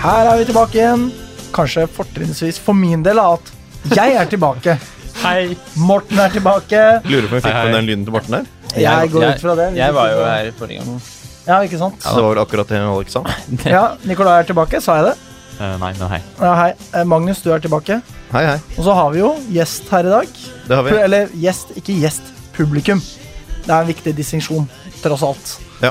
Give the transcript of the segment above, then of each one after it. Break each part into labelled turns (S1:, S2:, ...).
S1: Her er vi tilbake igjen. Kanskje fortrinnsvis for min del da, at jeg er tilbake.
S2: Hei.
S1: Morten er tilbake.
S3: Lurer på om vi fikk
S2: Hei, hei.
S3: med den lyden til Morten der.
S1: Jeg går ut fra det.
S2: Jeg var jo her forrige gang.
S1: Ja, ikke sant?
S3: Så det var akkurat det Alex sa.
S1: Ja, Nicolai er tilbake, sa jeg det?
S2: Eh, nei, men hei.
S1: Ja, hei. Eh, Magnus, du er tilbake.
S3: Hei, hei.
S1: Og så har vi jo gjest her i dag.
S3: Det har vi.
S1: Pu- Eller gjest, ikke gjest. Publikum. Det er en viktig distinksjon, tross alt.
S3: Ja.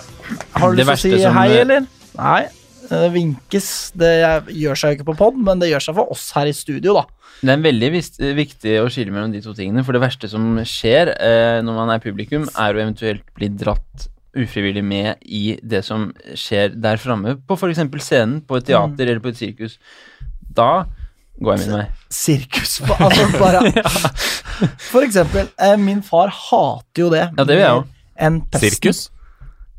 S1: Har du
S2: Det
S1: lyst til å
S2: verste
S1: si
S2: som-
S1: hei,
S4: eh,
S1: eller? Nei. Eh, Det vinkes. Det gjør seg jo ikke på pod, men det gjør seg for oss her i studio, da.
S4: Det er veldig vis- viktig å skille mellom de to tingene, for det verste som skjer eh, når man er publikum, er å eventuelt bli dratt ufrivillig med i det som skjer der framme, på f.eks. scenen, på et teater
S1: Mm.
S4: eller på et sirkus. Da går jeg min vei.
S1: sirkus. ba- Altså bare For eksempel, eh, min far hater jo det.
S4: Ja, det gjør jeg òg.
S1: En pest.
S2: Sirkus?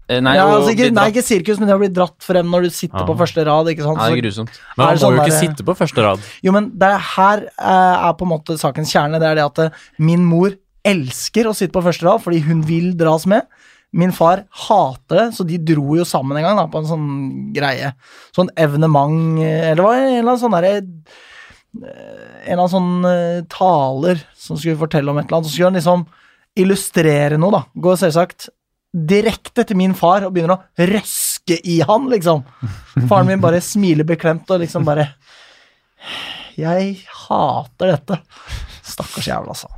S4: Eh, Nei,
S1: Nei, ja,
S4: å
S1: altså,
S4: bli
S1: ikke, nei,
S4: dratt-
S1: ikke sirkus, men det å bli dratt frem når du sitter
S2: Ah.
S1: på første rad. ikke sant?
S4: Nei, det er
S1: Så-
S4: grusomt.
S2: Men
S1: Er
S2: man
S1: det
S2: må
S1: sånn
S2: jo ikke
S1: der-
S2: sitte på første rad.
S1: jo, men det er her eh, er på en måte sakens kjerne. Det er det at eh, min mor elsker å sitte på første rad fordi hun vil dras med. Min far hater det, så de dro jo sammen en gang da, på en sånn greie. Sånn evnement, eh, eller hva, en eller annen sånn derre eh, En eller annen sånn eh, taler som skulle fortelle om et eller annet. Så skulle han liksom illustrere noe, da. Går selvsagt direkte til min far og begynner å røske i han, liksom. Faren min bare smiler beklemt og liksom bare jeg hater dette. Stakkars jævel, altså.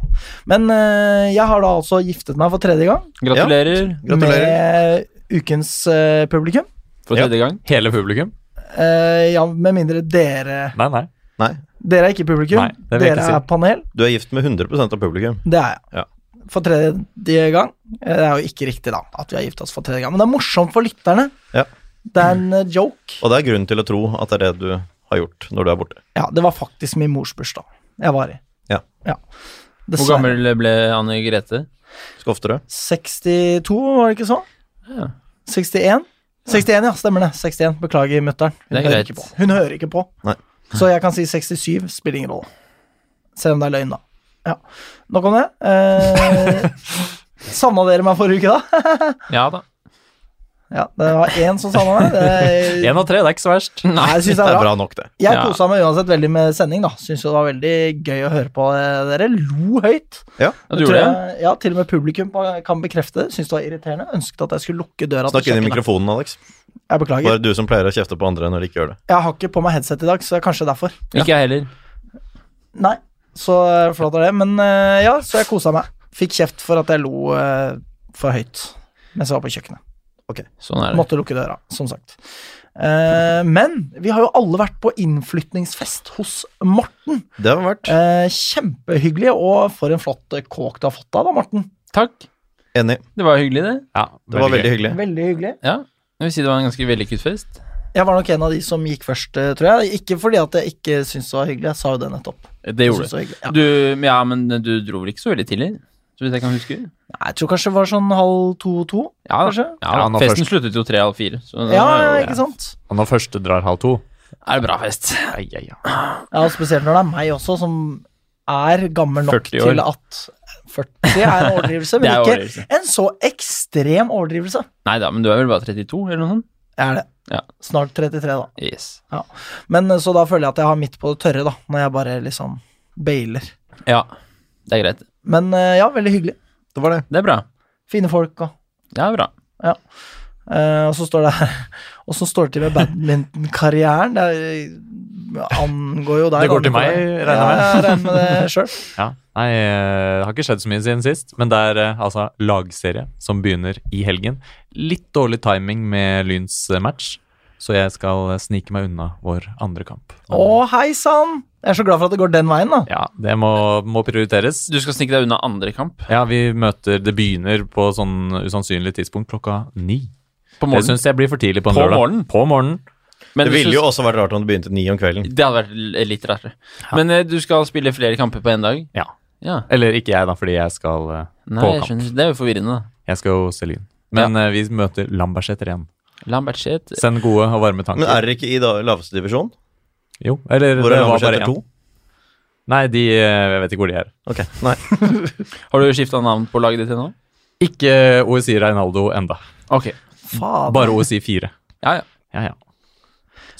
S1: Men eh, jeg har da altså giftet meg for tredje gang
S4: Gratulerer
S3: Gratulerer.
S1: med ukens eh, publikum.
S4: for
S3: Ja.
S4: tredje gang.
S2: Hele publikum?
S1: Eh, ja, med mindre dere
S2: Nei, nei.
S3: Nei,
S1: Dere er ikke publikum.
S2: Nei, det vil jeg
S1: dere
S2: ikke si.
S1: er panel.
S3: du er gift med 100 av publikum.
S1: Det er jeg.
S3: Ja.
S1: For tredje gang. Eh, Det er jo ikke riktig, da, at vi har giftet oss for tredje gang. Men det er morsomt for lytterne.
S3: Ja.
S1: Det er en eh, joke.
S3: Og det er grunn til å tro at det er det du har gjort når du er borte.
S1: Ja, det var faktisk min mors bursdag jeg var i.
S3: Ja.
S4: Hvor
S1: Dessverre.
S4: gammel ble Anne Grete?
S3: Skal oftere.
S1: 62, var det ikke sånn?
S4: Ja.
S1: 61? 61, ja, stemmer det. 61, Beklager, mutter'n. Hun,
S4: Det er
S1: hører
S4: greit.
S1: ikke på. Hun hører ikke på.
S3: Nei.
S1: Så jeg kan si 67, spiller ingen rolle. Selv om det er løgn, da. Ja. Nok om det. Eh, savna dere meg forrige uke, da?
S4: Ja da.
S1: Ja, det var én som savna meg. Det,
S2: Én av tre, det er ikke så verst.
S1: nei, jeg synes
S3: Det
S1: det
S3: er
S1: er bra.
S3: bra nok, det.
S1: Jeg
S4: Ja.
S1: kosa meg uansett veldig med sending, da. Syns jo det var veldig gøy å høre på eh, dere. Lo høyt.
S4: Ja, du
S1: tror
S4: gjorde det?
S1: jeg, ja, til og med publikum på- kan bekrefte det. Syns det var irriterende. Ønsket at jeg skulle lukke døra
S3: Snakk inn i mikrofonen, Alex.
S1: Jeg
S3: Det
S1: beklager.
S3: er du som pleier å kjefte på andre når de ikke gjør det.
S1: Jeg har ikke på meg headset i dag, så det er kanskje derfor.
S4: Ikke jeg heller.
S1: Nei, så eh, flott er det. Men eh, ja, så jeg kosa meg. Fikk kjeft for at jeg lo eh, for høyt mens jeg var på kjøkkenet.
S4: Sånn er det.
S1: Måtte lukke døra, som sagt. Eh, men vi har jo alle vært på innflytningsfest hos Morten.
S3: Det har vært
S1: Eh, kjempehyggelig, og for en flott eh, kåk du har fått av da, Morten.
S4: Takk.
S3: enig.
S4: Det var hyggelig, det.
S2: Ja,
S3: Det var veldig hyggelig.
S1: Veldig hyggelig.
S4: Ja. Jeg vil si det var en ganske vellykket fest.
S1: Jeg var nok en av de som gikk først, eh, tror jeg. Ikke fordi at jeg ikke syntes det var hyggelig, jeg sa jo det nettopp.
S4: Det
S1: Jeg
S4: gjorde
S1: syntes det var hyggelig. Ja.
S4: Du, Altså, ja, men du dro vel ikke så veldig tidlig? Så vidt jeg kan huske.
S1: Nei, Jeg tror kanskje det var sånn halv to-to.
S4: Ja, da.
S1: Kanskje?
S4: ja, da.
S2: Ja, nå
S4: Festen sluttet jo tre halv fire. Så det
S1: Ja,
S4: var jo-
S1: ikke sant?
S2: Og når første drar halv to
S4: Er det bra fest?
S2: ai, ai, ai.
S1: Ja, og Spesielt når det er meg også, som er gammel nok
S4: 40 år.
S1: til at 40 er en overdrivelse,
S4: Det
S1: men
S4: er
S1: ikke
S4: overdrivelse.
S1: en så ekstrem overdrivelse.
S4: Nei da, men du er vel bare 32, eller noe sånt?
S1: Jeg er det.
S4: Ja.
S1: Snart 33, da.
S4: Yes.
S1: Men eh, så da føler jeg at jeg har midt på det tørre, da, når jeg bare liksom bailer.
S4: Ja, det er greit.
S1: Men eh, ja, veldig hyggelig.
S3: Det var det.
S4: Det er bra.
S1: Fine folk og
S4: Det er bra.
S1: Eh, og så står det her Og så står det til med badmintonkarrieren. Det er- angår jo deg.
S2: Det går
S1: da,
S2: til meg,
S1: Nicolai.
S2: regner jeg med.
S1: Ja, jeg regner med det sjøl.
S2: Ja. Nei, eh, det har ikke skjedd så mye siden sist, men det er eh, altså lagserie som begynner i helgen. Litt dårlig timing med Lyns eh, match, så jeg skal eh, snike meg unna vår andre kamp.
S1: Å, hei sann! Jeg er så glad for at det går den veien, da.
S2: Ja, det må, må prioriteres.
S4: Du skal snike deg unna andre kamp
S2: Ja, vi møter Det begynner på sånn usannsynlig tidspunkt klokka ni.
S4: på
S2: Det
S4: morgenen.
S2: syns jeg blir for tidlig på en
S4: På
S2: lørdag.
S4: morgenen?
S2: På morgenen.
S4: Men
S3: Det
S4: du
S3: ville
S4: syns-
S3: jo også vært rart om det begynte ni om kvelden.
S4: Det hadde vært l- litt rarere. Men eh, du skal spille flere kamper på én dag?
S2: Ja.
S4: Ja.
S2: Eller ikke jeg, da, fordi jeg skal eh,
S4: Nei,
S2: på
S4: jeg
S2: kamp.
S4: skjønner. Det er jo forvirrende, da.
S2: Jeg skal jo se Lyn. Men eh, vi møter Lambertseter igjen.
S4: Lambertseter
S2: Send gode og varme tanker.
S3: Men er dere ikke i da- laveste divisjon?
S2: Jo, eller
S3: Hvor
S2: det
S3: er
S2: var bare
S3: Lambertseter
S2: én.
S3: 2?
S2: Nei, de eh, Jeg vet ikke hvor de er.
S3: Ok, nei.
S4: Har du skifta navn på laget ditt ennå?
S2: Ikke eh, OSI Reinaldo enda.
S4: Ok.
S3: Ah,
S1: Fader.
S2: Bare OSI 4.
S4: Ja, ja.
S2: Ja, ja.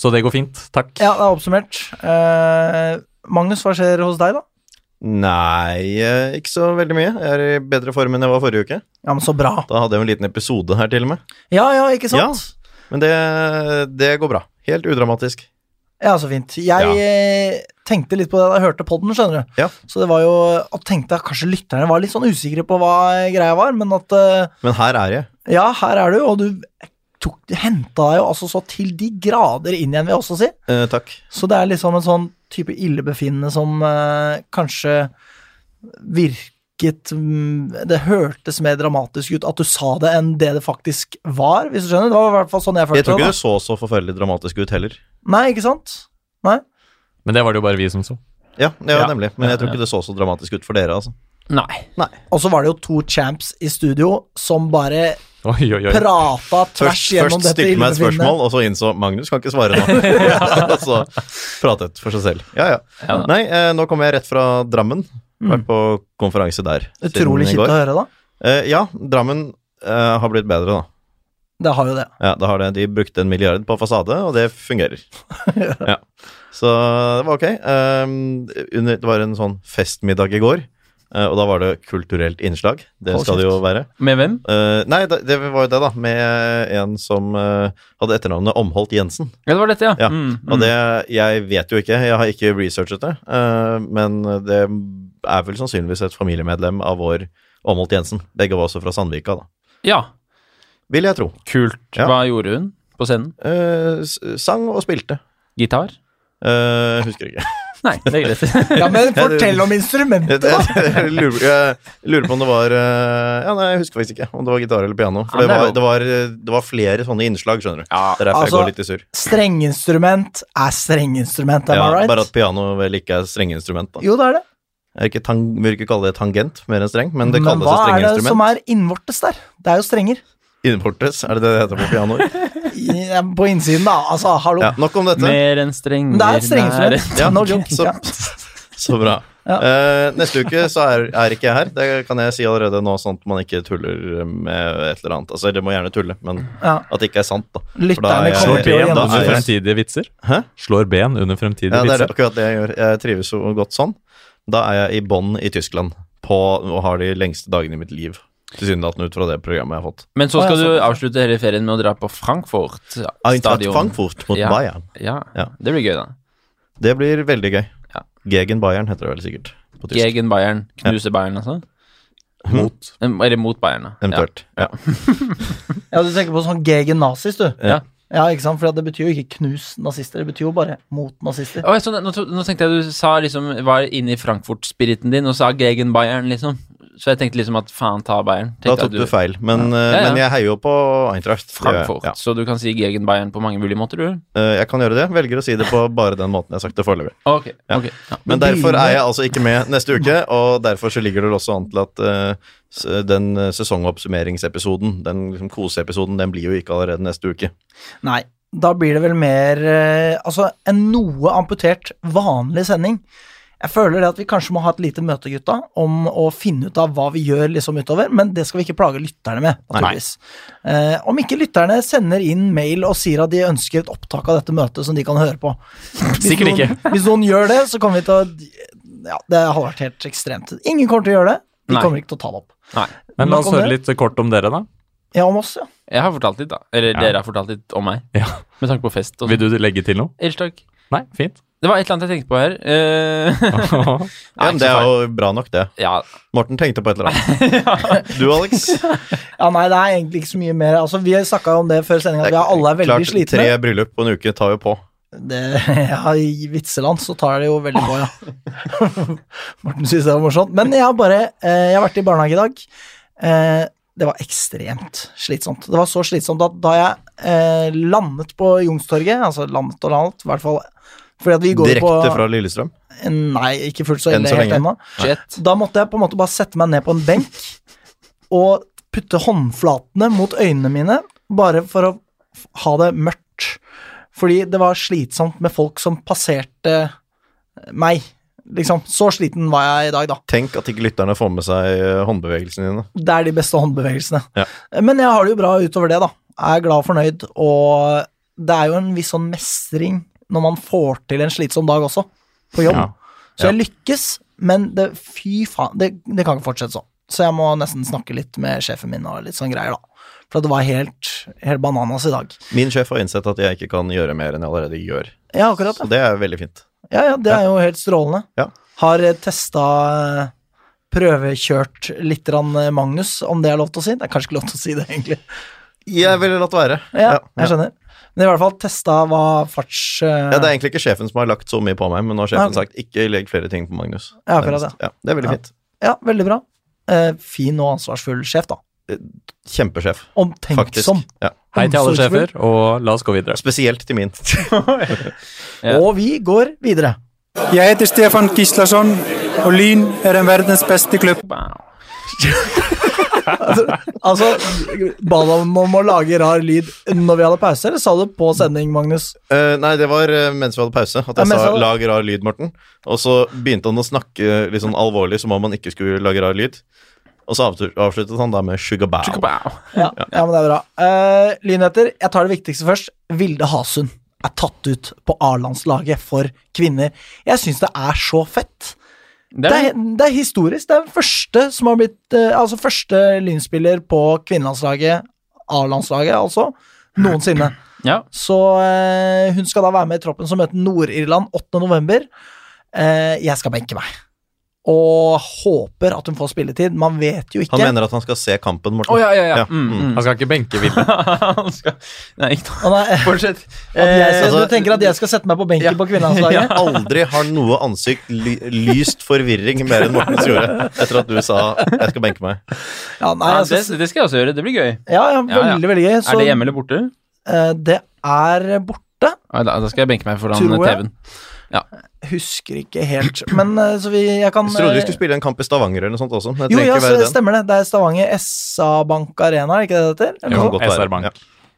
S2: Så det går fint. Takk.
S1: Ja, det er oppsummert. Eh, Magnus, hva skjer hos deg, da?
S3: Nei, eh, ikke så veldig mye. Jeg er i bedre form enn jeg var forrige uke.
S1: Ja, men så bra.
S3: Da hadde jeg jo en liten episode her, til og med.
S1: Ja, ja, ikke sant?
S3: Men det, det går bra. Helt udramatisk.
S1: Ja, så fint. Jeg
S3: Ja.
S1: eh, tenkte litt på det da jeg hørte podden, skjønner du.
S3: Ja.
S1: Så det var jo Og tenkte at kanskje lytterne var litt sånn usikre på hva greia var, men at eh,
S3: Men her er jeg.
S1: Ja, her er du, og du tok, henta deg jo altså så til de grader inn igjen, vil jeg også si.
S3: Eh, takk.
S1: Så det er liksom en sånn type illebefinnende som eh, kanskje virket mm, Det hørtes mer dramatisk ut at du sa det, enn det det faktisk var, hvis du skjønner. Det var i hvert fall sånn jeg
S3: Jeg
S1: følte
S3: tror
S1: det.
S3: ikke
S1: da.
S3: det så så forferdelig dramatisk ut heller.
S1: Nei, ikke sant? Nei.
S2: Men det var det jo bare vi som så.
S3: Ja, ja,
S2: Ja.
S3: nemlig. Men jeg tror
S2: Ja, ja.
S3: ikke det så så dramatisk ut for dere, altså.
S4: Nei.
S1: Og så var det jo to champs i studio som bare
S2: Oi, oi, oi.
S1: prata tvers
S3: Først,
S1: gjennom
S3: først
S1: dette
S3: stilte meg et
S1: illebefinnende.
S3: spørsmål, og så innså Magnus kan ikke svare nå. Og så pratet for seg selv. Ja, ja.
S4: Ja da.
S3: Nei, eh, nå kommer jeg rett fra Drammen. Vært på konferanse der.
S1: Mm.
S3: siden
S1: Utrolig
S3: i
S1: kjipt
S3: går.
S1: å høre, da.
S3: Eh, ja, Drammen eh, har blitt bedre, da.
S1: Det har jo det.
S3: Ja, da har det, De brukte en milliard på fasade, og det fungerer. ja. Så det var ok. Um, under, det var en sånn festmiddag i går, eh, og da var det kulturelt innslag. Det
S1: Hold
S3: skal det jo
S1: kjeft.
S3: være.
S4: Med hvem?
S3: Eh, nei, da, det var jo det, da, med en som eh, hadde etternavnet Omholt Jensen.
S4: Ja, det var dette, ja.
S3: Ja,
S4: Mm,
S3: Og
S4: mm.
S3: det Jeg vet jo ikke, jeg har ikke researchet det, eh, men det er vel sannsynligvis et familiemedlem av vår Omholt Jensen. Begge var også fra Sandvika, da.
S4: Ja,
S3: Vil jeg tro.
S4: kult.
S3: Ja.
S4: Hva gjorde hun på scenen?
S3: Eh, s- sang og spilte.
S4: Gitar?
S3: Eh, husker ikke.
S4: Nei, det er greit.
S1: Ja, Men fortell om instrumentet,
S3: Jeg,
S1: da!
S3: jeg, jeg, lurer, jeg lurer på om det var eh, Ja, nei, jeg husker faktisk ikke om det var gitar eller piano. For
S4: Ja,
S3: det
S4: det er
S3: var,
S4: lov.
S3: det, var, eh, det var flere sånne innslag, skjønner du.
S4: Ja,
S3: Det er derfor
S1: altså,
S3: jeg går litt i surr.
S1: Strengeinstrument er strengeinstrument, am
S3: Ja,
S1: I
S3: bare
S1: right?
S3: at piano vel ikke er strengeinstrument, da.
S1: Jo, det er det.
S3: Jeg vil ikke, tang, vil ikke kalle det tangent mer enn streng, men det
S1: Men
S3: kalles
S1: hva
S3: et
S1: er det
S3: strengeinstrument.
S1: som er innvortes der? Det er jo strenger.
S3: Innportes, er det det det heter på pianoer?
S1: I, på innsiden, da. Altså, hallo.
S3: ja, nok om dette.
S4: Mer enn strenger
S1: Men det er et
S4: nære.
S1: strengeinstrument.
S3: Ja,
S1: No joke.
S3: så-
S1: Ja.
S3: Så bra.
S1: Ja.
S3: Eh, neste uke så er, er ikke jeg her. Det kan jeg si allerede nå, sånn at man ikke tuller med et eller annet. Altså, det må gjerne tulle, men
S1: Ja.
S3: at det ikke er sant, da. For da er
S1: Lytterne
S3: jeg-
S1: kommer
S2: Slår
S1: til å
S3: Ja,
S2: ben
S3: da
S2: under
S3: er jeg-
S1: gjennomføre.
S2: fremtidige vitser.
S3: Hæ?
S2: Slår ben under fremtidige
S3: Ja, det er
S2: vitser.
S3: akkurat det jeg gjør. Jeg trives så godt sånn. Da er jeg i bånn i Tyskland på, og har de lengste dagene i mitt liv. Tilsynelatende ut fra det programmet jeg har fått.
S4: Men
S1: Å,
S4: så
S1: ja,
S4: skal du
S1: sånn.
S4: avslutte hele ferien med å dra på Frankfurt
S3: Eintracht
S4: stadion.
S3: Frankfurt mot
S4: Ja.
S3: Bayern.
S4: Ja,
S3: Ja.
S4: det blir gøy, da.
S3: Det blir veldig gøy.
S4: Ja.
S3: Gegen Bayern heter det vel sikkert på tysk.
S4: Gegen Bayern. Knuse Bayern, altså?
S2: Mot.
S4: Eller mot Bayern, da.
S3: Eventuelt. Ja.
S1: Ja, du tenker på sånn gegen nazis, du.
S4: Ja.
S1: Ja, ikke sant? For det betyr jo ikke knus nazister, det betyr jo bare mot nazister.
S4: Å, jeg så, nå, tro- nå tenkte jeg du sa liksom var inne i Frankfurt-spiriten din og sa Gegen Bayern, liksom. Så jeg tenkte liksom at faen ta Bayern.
S3: Da
S4: Tenkte
S3: tok
S4: at
S3: du feil, men, eh,
S4: Ja, ja.
S3: men jeg heier jo på Eintracht. Det gjør jeg.
S4: Frankfurt.
S3: Ja.
S4: Så du kan si Gegen Bayern på mange mulige måter, du.
S3: Eh, Jeg kan gjøre det. Velger å si det på bare den måten jeg har sagt det foreløpig.
S4: Ok,
S3: Ja.
S4: ok. Ja.
S3: Men
S1: Men
S3: derfor
S1: bilene-
S3: er jeg altså ikke med neste uke, og derfor så ligger det også an til at eh, s- den eh, sesongoppsummeringsepisoden, den liksom koseepisoden, den blir jo ikke allerede neste uke.
S1: Nei, da blir det vel mer eh, Altså, en noe amputert vanlig sending. Jeg føler det at vi kanskje må ha et lite møte, gutta, om å finne ut av hva vi gjør liksom utover, men det skal vi ikke plage lytterne med, naturligvis. Eh, om ikke lytterne sender inn mail og sier at de ønsker et opptak av dette møtet som de kan høre på. Hvis
S2: Sikkert
S1: noen, Hvis noen gjør det, så kommer vi til å Ja, det hadde vært helt ekstremt. Ingen kommer til å gjøre det. Vi
S4: Nei.
S1: kommer ikke til å ta det opp.
S4: Nei.
S2: Men la
S1: Nok
S2: oss
S1: om
S2: høre
S1: det.
S2: litt kort om dere, da.
S1: Ja, om oss, ja.
S4: Jeg har fortalt litt, da. Eller
S2: Ja.
S4: dere har fortalt litt om meg.
S2: Ja.
S4: Med tanke på fest og
S2: Vil
S4: sånn.
S2: du legge til noe?
S4: Ellers takk.
S2: Nei, fint.
S4: Det var et eller annet jeg tenkte på her. Eh,
S3: Ja, men det er jo bra nok, det.
S4: ja,
S3: Morten tenkte på et eller annet. Du, Alex?
S1: Ja, Nei, det er egentlig ikke så mye mer. Altså, Vi snakka jo om det før sendinga, at vi er alle er veldig
S3: Klart,
S1: slitne.
S3: Tre bryllup på en uke tar jo på.
S1: Det, ja, I vitseland så tar det jo veldig på, ja. Morten synes det var morsomt. Men jeg har bare eh, Jeg har vært i barnehage i dag. Eh, det var ekstremt slitsomt. Det var så slitsomt at da jeg eh, landet på Youngstorget, altså landet og landet, i hvert fall fordi at vi går jo på
S3: Direkte fra Lillestrøm.
S1: Nei, ikke fullt så
S3: Enn
S1: ille
S3: så
S1: helt ennå.
S3: lenge.
S4: shit.
S1: Da måtte jeg på en måte bare sette meg ned på en benk og putte håndflatene mot øynene mine, bare for å f- ha det mørkt. Fordi det var slitsomt med folk som passerte meg. Liksom, Så sliten var jeg i dag, da.
S3: Tenk at ikke lytterne får med seg eh, håndbevegelsene dine.
S1: Det er de beste håndbevegelsene.
S3: Ja.
S1: Men jeg har det jo bra utover det, da. Jeg er glad og fornøyd og det er jo en viss sånn mestring når man får til en slitsom dag også, på jobb.
S2: Ja.
S1: Så jeg lykkes, men det, fy faen, det, det kan ikke fortsette sånn. Så jeg må nesten snakke litt med sjefen min og litt sånn greier, da. For det var helt, helt bananas i dag.
S3: Min sjef har innsett at jeg ikke kan gjøre mer enn jeg allerede gjør.
S1: Ja, akkurat.
S3: Så det er veldig fint.
S1: Ja, ja, det er jo helt strålende.
S3: Ja.
S1: Har testa prøvekjørt litt grann eh, Magnus, om det er lov til å si. Det er kanskje ikke lov til å si det, egentlig.
S3: Jeg ville latt være.
S1: Ja,
S3: ja.
S1: jeg skjønner. Men i hvert fall testa hva farts... eh,
S3: Ja, det er egentlig ikke sjefen som har lagt så mye på meg, men nå har
S1: Nei,
S3: sjefen
S1: ok.
S3: sagt ikke legg flere ting på Magnus.
S1: Ja, akkurat det.
S3: Ja, det er veldig
S1: Ja.
S3: fint.
S1: ja, veldig bra. Eh, fin og ansvarsfull sjef, da.
S3: Kjempesjef, faktisk.
S1: Omtenksom.
S3: Ja.
S2: Hei til alle
S1: Omsorgsfull.
S2: sjefer, og la oss gå videre.
S3: Spesielt til min.
S4: Ja.
S1: Og vi går videre.
S5: Jeg heter Stefan Gislason, og Lyn er um den verdens beste klubb.
S4: Wow.
S1: Altså, ba du om å lage rar lyd når vi hadde pause, eller sa du på sending, Magnus?
S3: Eh, nei, det var eh, mens vi hadde pause, at
S1: Ja,
S3: jeg
S1: mens
S3: sa
S1: jeg-
S3: 'lag rar lyd', Morten. Og så begynte han å snakke litt sånn alvorlig som om han ikke skulle lage rar lyd. Og så avtu- avsluttet han da med 'sugar bow'.
S4: Wow.
S1: Ja, ja. men det er bra. Eh, Lynheter, jeg tar det viktigste først. Vilde Hasund er tatt ut på A-landslaget for kvinner. Jeg syns det er så fett.
S4: Det
S1: Det
S4: er,
S1: er, det er historisk. Det er den første som har blitt eh, Altså første lynspiller på kvinnelandslaget, A-landslaget altså, noensinne.
S4: ja.
S1: Så eh, hun skal da være med i troppen som møter Nord-Irland 8. november. Eh, jeg skal benke meg. Og håper at hun får spilletid. Man vet jo ikke.
S3: Han mener at han skal se kampen, Morten.
S4: Å, ja, ja, ja.
S3: Ja,
S4: Mm, mm.
S2: Han skal ikke benke Vilde.
S4: Han skal Nei, ikke
S1: Å,
S4: noe.
S1: nei,
S4: Fortsett.
S1: At jeg,
S4: Eh,
S1: skal- du
S3: altså-
S1: tenker at jeg skal sette meg på benken
S4: Ja.
S1: på kvinnelandslaget?
S3: Aldri har noe ansikt ly lyst forvirring mer enn Mortens gjorde etter at du sa 'jeg skal benke meg'.
S1: Ja, nei,
S4: ja,
S1: jeg
S4: det,
S1: skal,
S4: det skal jeg også gjøre. Det blir gøy.
S1: ja, ja,
S4: Ja, ja.
S1: veldig, veldig gøy. Så
S4: Er det hjemme eller borte?
S1: eh, det er borte.
S4: Nei, Da, da skal jeg benke meg foran
S1: Tror jeg.
S4: TV-en.
S1: Husker ikke helt, men eh, så vi, jeg kan
S3: Jeg trodde vi skulle
S1: eh,
S3: spille en kamp i Stavanger eller noe sånt også. Men det
S1: Jo,
S3: trenger
S1: ja,
S3: ikke være
S1: så
S3: den.
S1: stemmer det. Det er Stavanger SA Bank Arena, er det ikke det det heter? Eller
S3: Jo.
S1: noe sånt?
S3: godt være.
S2: SR Bank.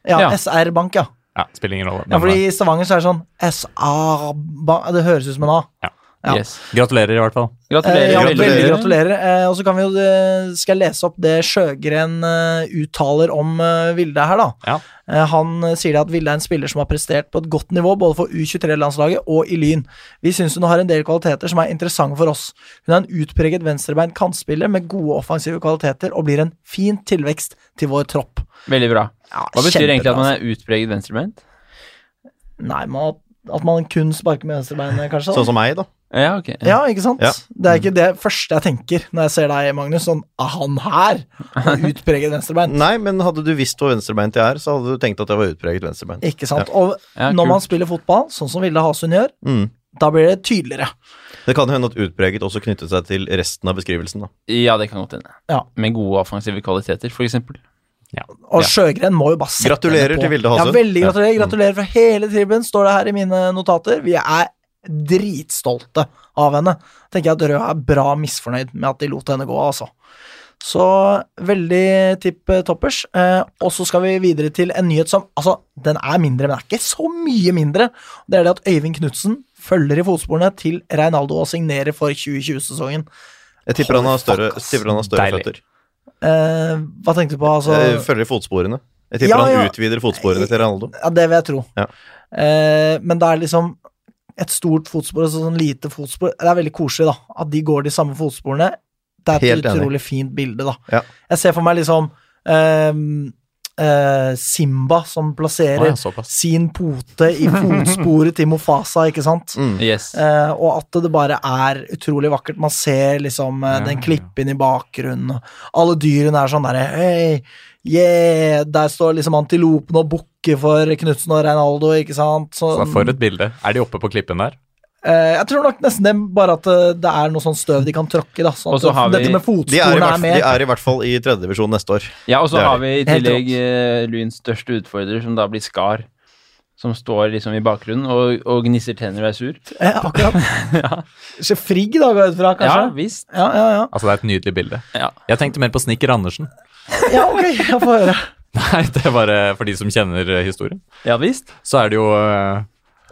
S1: Ja,
S4: Ja.
S1: SR Bank, ja.
S2: Ja, spiller ingen rolle.
S1: ja. Fordi i Stavanger så er det sånn SR Bank Det høres ut som en A. Ja.
S4: Yes.
S2: Gratulerer, i hvert fall.
S1: Eh,
S4: Gratulerer.
S1: ja,
S3: veldig.
S1: veldig gratulerer. Eh, og så kan vi jo, eh, skal jeg lese opp det Sjøgren eh, uttaler om eh, Vilde her, da.
S2: Ja.
S1: Eh, han eh, sier det at Vilde er en spiller som har prestert på et godt nivå, både for U23-landslaget og i Lyn. Vi syns hun har en del kvaliteter som er interessante for oss. Hun er en utpreget venstrebeint kantspiller med gode offensive kvaliteter og blir en fin tilvekst til vår tropp.
S4: Veldig bra.
S1: Ja,
S4: Hva betyr egentlig at man
S1: kjempebra,
S4: er utpreget venstrebeint?
S1: altså. Nei, man, at man kun sparker med venstrebeinet, kanskje? da.
S3: Sånn som meg, da.
S4: Ja, Mm. ok.
S1: Ja, ikke sant?
S3: Ja.
S1: Det er ikke det første jeg tenker når jeg ser deg, Magnus. Sånn, ah, han her! med Utpreget
S4: Mm.
S1: venstrebein.
S3: Nei, men hadde du visst hvor venstrebeint jeg er, så hadde du tenkt at jeg var utpreget venstrebeint.
S1: Ikke sant? Og
S4: Ja,
S1: når
S4: kult.
S1: man spiller fotball, sånn som Vilde Hasund gjør,
S3: Mm.
S1: da blir det tydeligere.
S3: Det kan hende at utpreget også knyttet seg til resten av beskrivelsen, da.
S4: Ja, det kan godt hende.
S1: Ja.
S4: Med gode offensive kvaliteter, for eksempel.
S1: Og
S4: Ja.
S1: Sjøgren må jo bare sette
S3: Gratulerer
S1: henne på.
S3: til Vilde Hasund.
S1: Ja, veldig
S3: Ja. Mm.
S1: gratulerer. Gratulerer fra hele tribunen, står det her i mine notater. Vi er dritstolte av henne. Tenker jeg at Rød er bra misfornøyd med at de lot henne gå, altså. Så veldig tipp eh, toppers. Eh, og så skal vi videre til en nyhet som Altså, den er mindre, men det er ikke så mye mindre. Det er det at Øyvind Knutsen følger i fotsporene til Reinaldo og signerer for 2020-sesongen.
S3: Jeg tipper han har større,
S1: Fuck, ass.
S3: tipper han har større
S2: Deilig.
S3: føtter.
S1: Eh, hva tenkte du på? Altså
S3: Jeg følger fotsporene. Jeg tipper
S1: Ja, ja.
S3: han utvider fotsporene til Ronaldo.
S1: Ja, det vil jeg tro.
S3: Ja.
S1: Eh, men det er liksom et stort fotspor og sånn lite fotspor. Det er veldig koselig, da. At de går de samme fotsporene. Det er et
S3: Helt enig.
S1: utrolig fint bilde, da.
S3: Ja.
S1: Jeg ser for meg liksom ehm, eh, Simba som
S2: Å,
S1: plasserer
S2: ja, såpass.
S1: sin pote i fotsporet til Mofasa, ikke sant?
S3: Mm.
S4: Yes.
S1: Eh, og at det bare er utrolig vakkert. Man ser liksom eh,
S2: Ja,
S1: den
S2: ja.
S1: klippen i bakgrunnen. og Alle dyrene er sånn derre hey, yeah! Der står liksom antilopen og bukker for Knutsen og Reinaldo, ikke sant? Så,
S2: Så Altså, For et bilde. Er de oppe på klippen der?
S1: eh, jeg tror nok nesten det er bare at eh, det er noe sånn støv de kan tråkke, da. Sånn
S4: Og så
S1: at
S4: har vi-
S1: dette med
S3: De, er i
S1: fotsporene
S3: hvert,
S1: er
S3: de
S1: med.
S3: er i hvert fall i tredjedivisjon neste år.
S4: Ja, og så
S3: Det er
S4: har vi i
S1: Helt
S4: tillegg eh, Lyns største utfordrer, som da blir Skar. Som står liksom i bakgrunnen og, og gnisser tenner og er sur.
S1: Eh, akkurat. Så Frigg, da, går jeg ut fra,
S4: Ja
S1: kanskje?
S4: visst.
S1: Ja, ja, ja.
S2: Altså, det er et nydelig bilde.
S4: Ja.
S2: Jeg tenkte mer på Snikker Andersen.
S1: ja. ok, jeg får høre.
S2: Nei, det er bare for de som kjenner eh, historien.
S4: Ja visst.
S2: Så er det jo eh,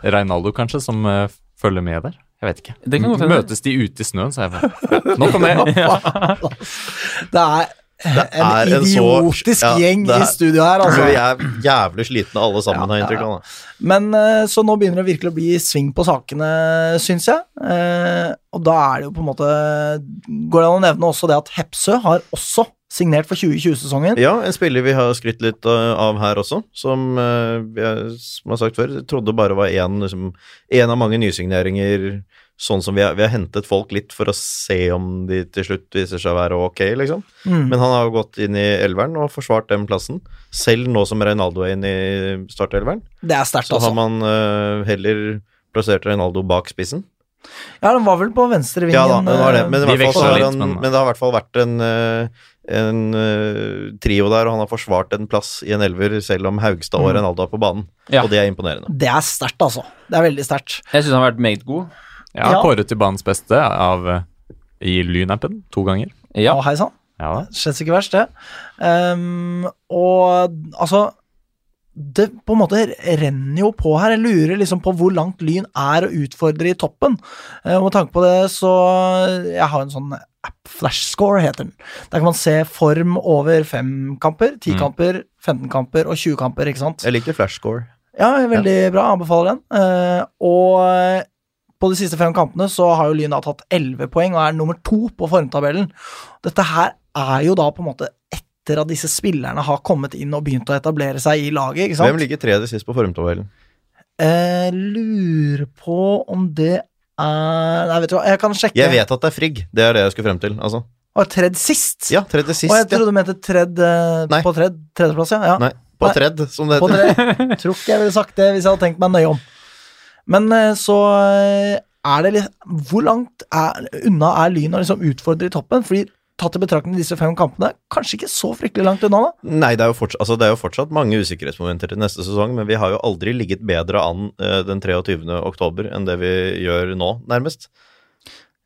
S2: Reinaldo, kanskje, som eh, følger med der. Jeg vet ikke.
S4: Det kan godt hende.
S2: Møtes de ute i snøen, så er jeg bare Nok om det.
S1: Det er
S3: Det
S1: En
S3: er en så-
S1: idiotisk
S3: ja,
S1: gjeng
S3: det er-
S1: i studio her, altså.
S3: Men Vi er jævlig slitne alle sammen, har jeg inntrykk av. da.
S1: Men eh, så nå begynner det virkelig å bli sving på sakene, syns jeg. Eh, Og da er det jo på en måte Går det an å nevne også det at Hepsø har også signert for 2020-sesongen.
S3: Ja, en spiller vi har skrytt litt uh, av her også, som uh, jeg som jeg har sagt før, trodde bare var én liksom, en av mange nysigneringer. Sånn som vi har, vi har hentet folk litt for å se om de til slutt viser seg å være ok, liksom.
S1: Mm.
S3: Men han har jo gått inn i elveren og forsvart den plassen. Selv nå som Reinaldo er inne i startelveren,
S1: Det er sterkt,
S3: så har
S1: altså.
S3: man uh, heller plassert Reinaldo bak spissen.
S1: Ja, den var vel på venstrevingen. eh,
S3: Ja da, det var det. Men, i
S2: De
S3: hvert fall så
S2: veksla
S3: har
S2: litt,
S3: han,
S2: men-
S3: men det har i hvert fall vært en, eh, en eh, trio der, og han har forsvart en plass i en elver, selv om Haugstad
S2: Mm.
S3: og Renaldo er på banen.
S4: Ja.
S3: Og det er imponerende.
S1: Det er sterkt, altså. Det er veldig sterkt.
S4: Jeg syns han har vært meget god.
S2: Jeg har
S1: Ja.
S2: kåret til banens beste av, eh, i Lyn-appen to ganger.
S4: Ja.
S1: Å, hei sann.
S2: Ja da.
S1: Slett ikke verst, det. Ehm, og altså Det på en måte renner jo på her. Jeg lurer liksom på hvor langt Lyn er å utfordre i toppen. Eh, Og med tanke på det, så Jeg har en sånn app, Flashscore heter den. Der kan man se form over fem kamper, ti
S2: Mm.
S1: kamper, 15 kamper og 20 kamper, ikke sant?
S3: Jeg liker flashscore.
S1: Ja, veldig bra. Anbefaler den. Eh, og på de siste fem kampene så har jo Lyn da tatt 11 poeng og er nummer to på formtabellen. Dette her er jo da på en måte etter at disse spillerne har kommet inn og begynt å etablere seg i laget, ikke sant?
S3: Hvem ligger tredje sist på formtabellen?
S1: Eh, lurer på om det er Nei, vet du hva, jeg kan sjekke.
S3: Jeg vet at det er Frigg, det er det jeg skulle frem til. Altså.
S1: Og tredd sist?
S3: Ja, tredje sist,
S1: og jeg
S3: ja.
S1: trodde du mente tredd eh,
S3: Nei.
S1: på tredd, tredjeplass, ja. ja.
S3: Nei, på tredd, som det
S1: På
S3: heter.
S1: dere. Tror ikke jeg ville sagt det hvis jeg hadde tenkt meg nøye om. Men eh, så eh, er det litt Hvor langt er, unna er Lyn å liksom utfordre i toppen? Fordi tatt i betraktning disse fem kampene, kanskje ikke så fryktelig langt unna, da.
S3: Nei, det er, jo fortsatt, altså, det er jo fortsatt mange usikkerhetsmomenter til neste sesong, men vi har jo aldri ligget bedre an eh, den 23. oktober enn det vi gjør nå, nærmest.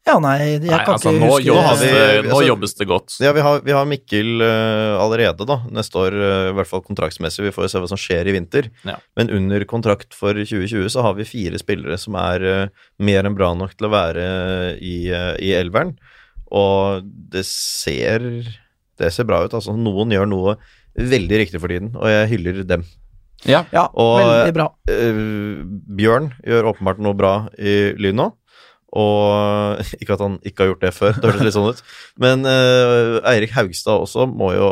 S1: Ja, nei, jeg
S2: Nei,
S1: kan
S2: altså,
S1: ikke
S2: nå,
S1: huske
S2: jobbes,
S3: Nå
S2: det,
S3: har vi-
S2: nå
S3: altså-
S2: jobbes det godt.
S3: Ja, vi har, vi har Mikkel eh, allerede, da. Neste år, eh, i hvert fall kontraktsmessig. Vi får jo se hva som skjer i vinter.
S2: Ja.
S3: Men under kontrakt for 2020 så har vi fire spillere som er eh, mer enn bra nok til å være i, eh, i elveren. Og det ser, det ser bra ut. Altså, noen gjør noe veldig riktig for tiden, og jeg hyller dem.
S4: ja.
S1: Ja,
S3: Og-
S1: veldig bra.
S3: Eh, Bjørn gjør åpenbart noe bra i Lyn nå. Og ikke at han ikke har gjort det før, det høres litt sånn ut. Men eh, Eirik Haugstad også må jo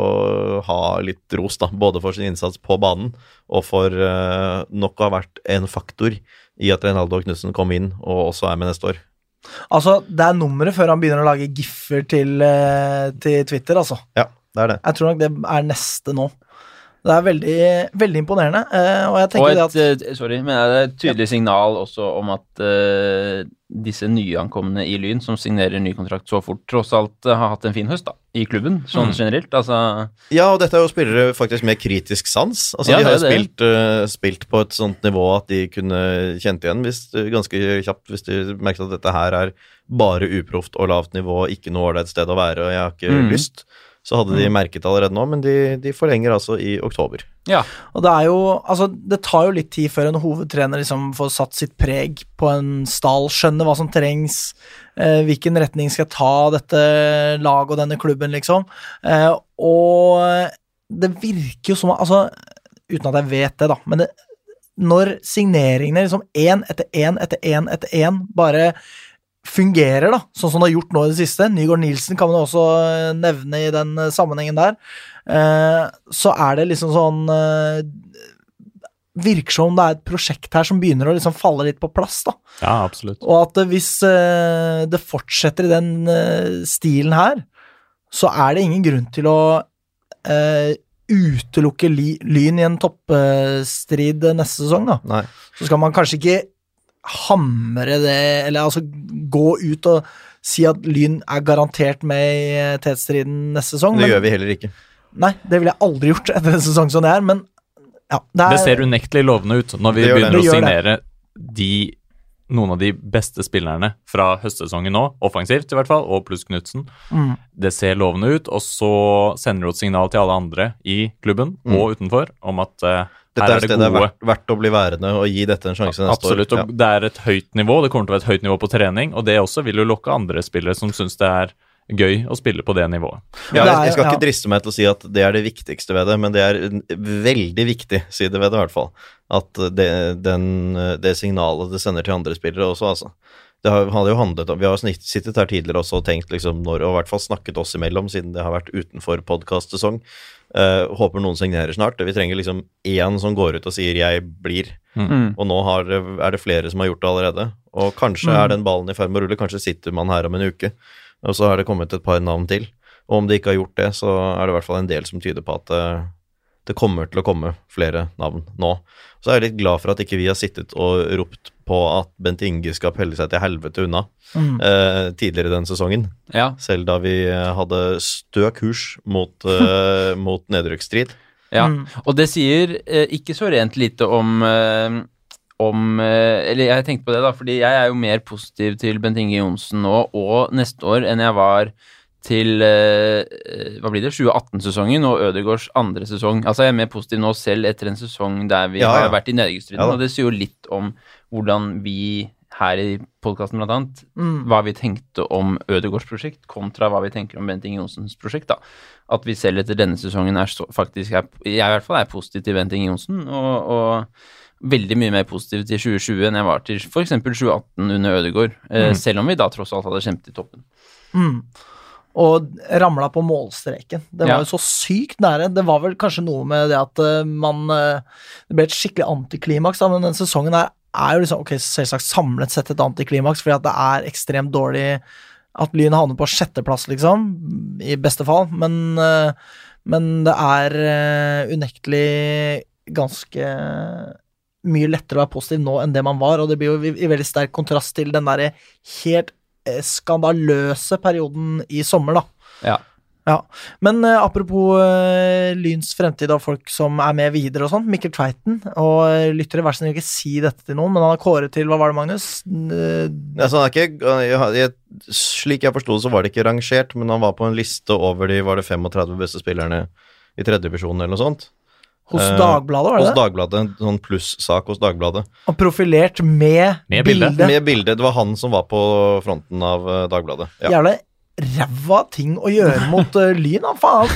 S3: ha litt ros, da. Både for sin innsats på banen og for eh, nok å ha vært en faktor i at Reinaldo Knutsen kom inn og også er med neste år.
S1: Altså, det er nummeret før han begynner å lage giffer til, eh, til Twitter, altså.
S3: Ja, det er det.
S1: Jeg tror nok det er neste nå. Det er veldig, veldig imponerende, eh, og jeg
S4: Og
S1: tenker det
S4: et,
S1: at
S4: eh, sorry, men det er et tydelig signal også om at eh, disse nyankomne i Lyn, som signerer ny kontrakt så fort, tross alt eh, har hatt en fin høst da, i klubben, sånn generelt. Altså,
S3: Ja, og dette er jo spillere faktisk med kritisk sans. Altså,
S4: Ja,
S3: de har
S4: det er
S3: jo
S4: det.
S3: spilt, eh, spilt på et sånt nivå at de kunne kjent igjen hvis, eh, ganske kjapt hvis de merket at dette her er bare uproft og lavt nivå, ikke noe ålreit sted å være, og jeg har ikke
S4: Mm.
S3: lyst. Så hadde de merket det allerede nå, men de, de forlenger altså i oktober.
S1: Og det er jo Altså, det tar jo litt tid før en hovedtrener liksom får satt sitt preg på en stall, skjønner hva som trengs, eh, hvilken retning skal ta dette laget og denne klubben, liksom. Eh, og det virker jo som Altså, uten at jeg vet det, da, men det, når signeringene liksom én etter én etter én etter én bare fungerer, da, sånn som det har gjort nå i det siste. Nygaard Nilsen kan man også eh, nevne i den eh, sammenhengen der. Eh, Så er det liksom sånn eh, Virker som om det er et prosjekt her som begynner å liksom falle litt på plass, da.
S2: Ja, absolutt.
S1: Og at eh, hvis eh, det fortsetter i den eh, stilen her, så er det ingen grunn til å eh, utelukke li, Lyn i en toppstrid neste sesong, da
S3: Nei.
S1: så skal man kanskje ikke hamre det, eller altså gå ut og si at Lyn er garantert med i eh, tetstriden neste sesong.
S3: Det
S1: men-
S3: gjør vi heller ikke.
S1: Nei, det ville jeg aldri gjort etter en sesong som det er, men ja, det er
S2: Det ser unektelig lovende ut når vi
S3: Det gjør det.
S2: begynner
S1: Det
S2: å
S1: gjør
S2: signere de, noen av de beste spillerne fra høstsesongen nå, offensivt i hvert fall, og pluss Knutsen.
S1: Mm.
S2: Det ser lovende ut, og så sender du et signal til alle andre i klubben
S3: Mm.
S2: og utenfor om at eh,
S3: Dette
S2: her
S3: er
S2: er
S3: et
S2: det
S3: sted det er
S2: gode.
S3: verdt, verdt å bli værende og gi dette en sjanse neste
S2: Absolutt,
S3: år.
S2: og det er et høyt nivå. Det kommer til å være et høyt nivå på trening, og det også vil jo lokke andre spillere som syns det er gøy å spille på det nivået.
S1: Men det
S3: Ja, jeg,
S1: er-
S3: jeg skal
S1: ja.
S3: ikke driste meg til å si at det er det viktigste ved det, men det er en veldig viktig side ved det, i hvert fall. At det, den, det signalet det sender til andre spillere også, altså. Det har, hadde jo handlet om, Vi har jo snitt- sittet her tidligere også og tenkt liksom når, og i hvert fall snakket oss imellom, siden det har vært utenfor podkastsesong. Eh, håper noen signerer snart. Vi trenger liksom én som går ut og sier 'jeg blir'.
S4: Mm.
S3: Og nå har, er det flere som har gjort det allerede. Og kanskje
S1: Mm.
S3: er den ballen i ferd med å rulle, kanskje sitter man her om en uke. Og så er det kommet et par navn til. Og om de ikke har gjort det, så er det i hvert fall en del som tyder på at det, det kommer til å komme flere navn nå. Så er jeg litt glad for at ikke vi har sittet og ropt på at Bent Inge skal pelle seg til helvete unna
S1: Mm.
S3: eh, tidligere den sesongen.
S4: Ja.
S3: Selv da vi eh, hadde stø kurs mot, eh, mot nedrykksstrid.
S4: ja.
S1: Mm.
S4: Og det sier eh, ikke så rent lite om eh, om, eh, eller jeg tenkte på det da, fordi jeg er jo mer positiv til Bent Inge Johnsen nå og neste år enn jeg var til eh, eh, hva blir det, 2018-sesongen og Ødegårds andre sesong. Altså jeg er mer positiv nå selv etter en sesong der vi
S3: Ja, ja.
S4: har vært i nedrykksstriden,
S3: Ja da.
S4: og det sier jo litt om hvordan vi her i podkasten blant annet,
S1: Mm.
S4: hva vi tenkte om Ødegårds prosjekt kontra hva vi tenker om Bent Inge Johnsens prosjekt. da. At vi selv etter denne sesongen er så, faktisk er, jeg i hvert fall er positiv til Bent Inge Johnsen, og, og veldig mye mer positiv til 2020 enn jeg var til f.eks. 2018 under Ødegård, eh, selv om vi da tross alt hadde kjempet i toppen.
S1: Mm. Og ramla på målstreken. Det var
S4: Ja.
S1: jo så sykt nære. Det var vel kanskje noe med det at eh, man eh, Det ble et skikkelig antiklimaks, da, men den sesongen her er jo liksom Ok, selvsagt samlet sett et antiklimaks, fordi at det er ekstremt dårlig at Lyn havner på sjetteplass, liksom, i beste fall, men eh, Men det er eh, unektelig ganske mye lettere å være positiv nå enn det man var, og det blir jo i, i veldig sterk kontrast til den derre helt eh, skandaløse perioden i sommer, da.
S4: Ja.
S1: Ja. Men eh, apropos eh, Lyns fremtid og folk som er med videre og sånn. Mikkel Tveiten og eh, lyttere, vær så snill ikke si dette til noen, men han har kåret til Hva var det, Magnus? Eh,
S3: Altså, han er ikke, jeg, jeg, slik jeg forsto det, så var det ikke rangert, men han var på en liste over de var det 35 beste spillerne i tredjedivisjonen eller noe sånt.
S1: Hos
S3: Eh,
S1: Dagbladet, var
S3: Hos
S1: det det?
S3: Dagbladet. En sånn plussak hos Dagbladet.
S1: Og profilert med,
S2: Med
S1: bilde.
S2: bilde.
S3: Med bilde. Det var han som var på fronten av eh, Dagbladet. Ja.
S1: Jævla ræva ting å gjøre mot eh, Lyn, da, faen.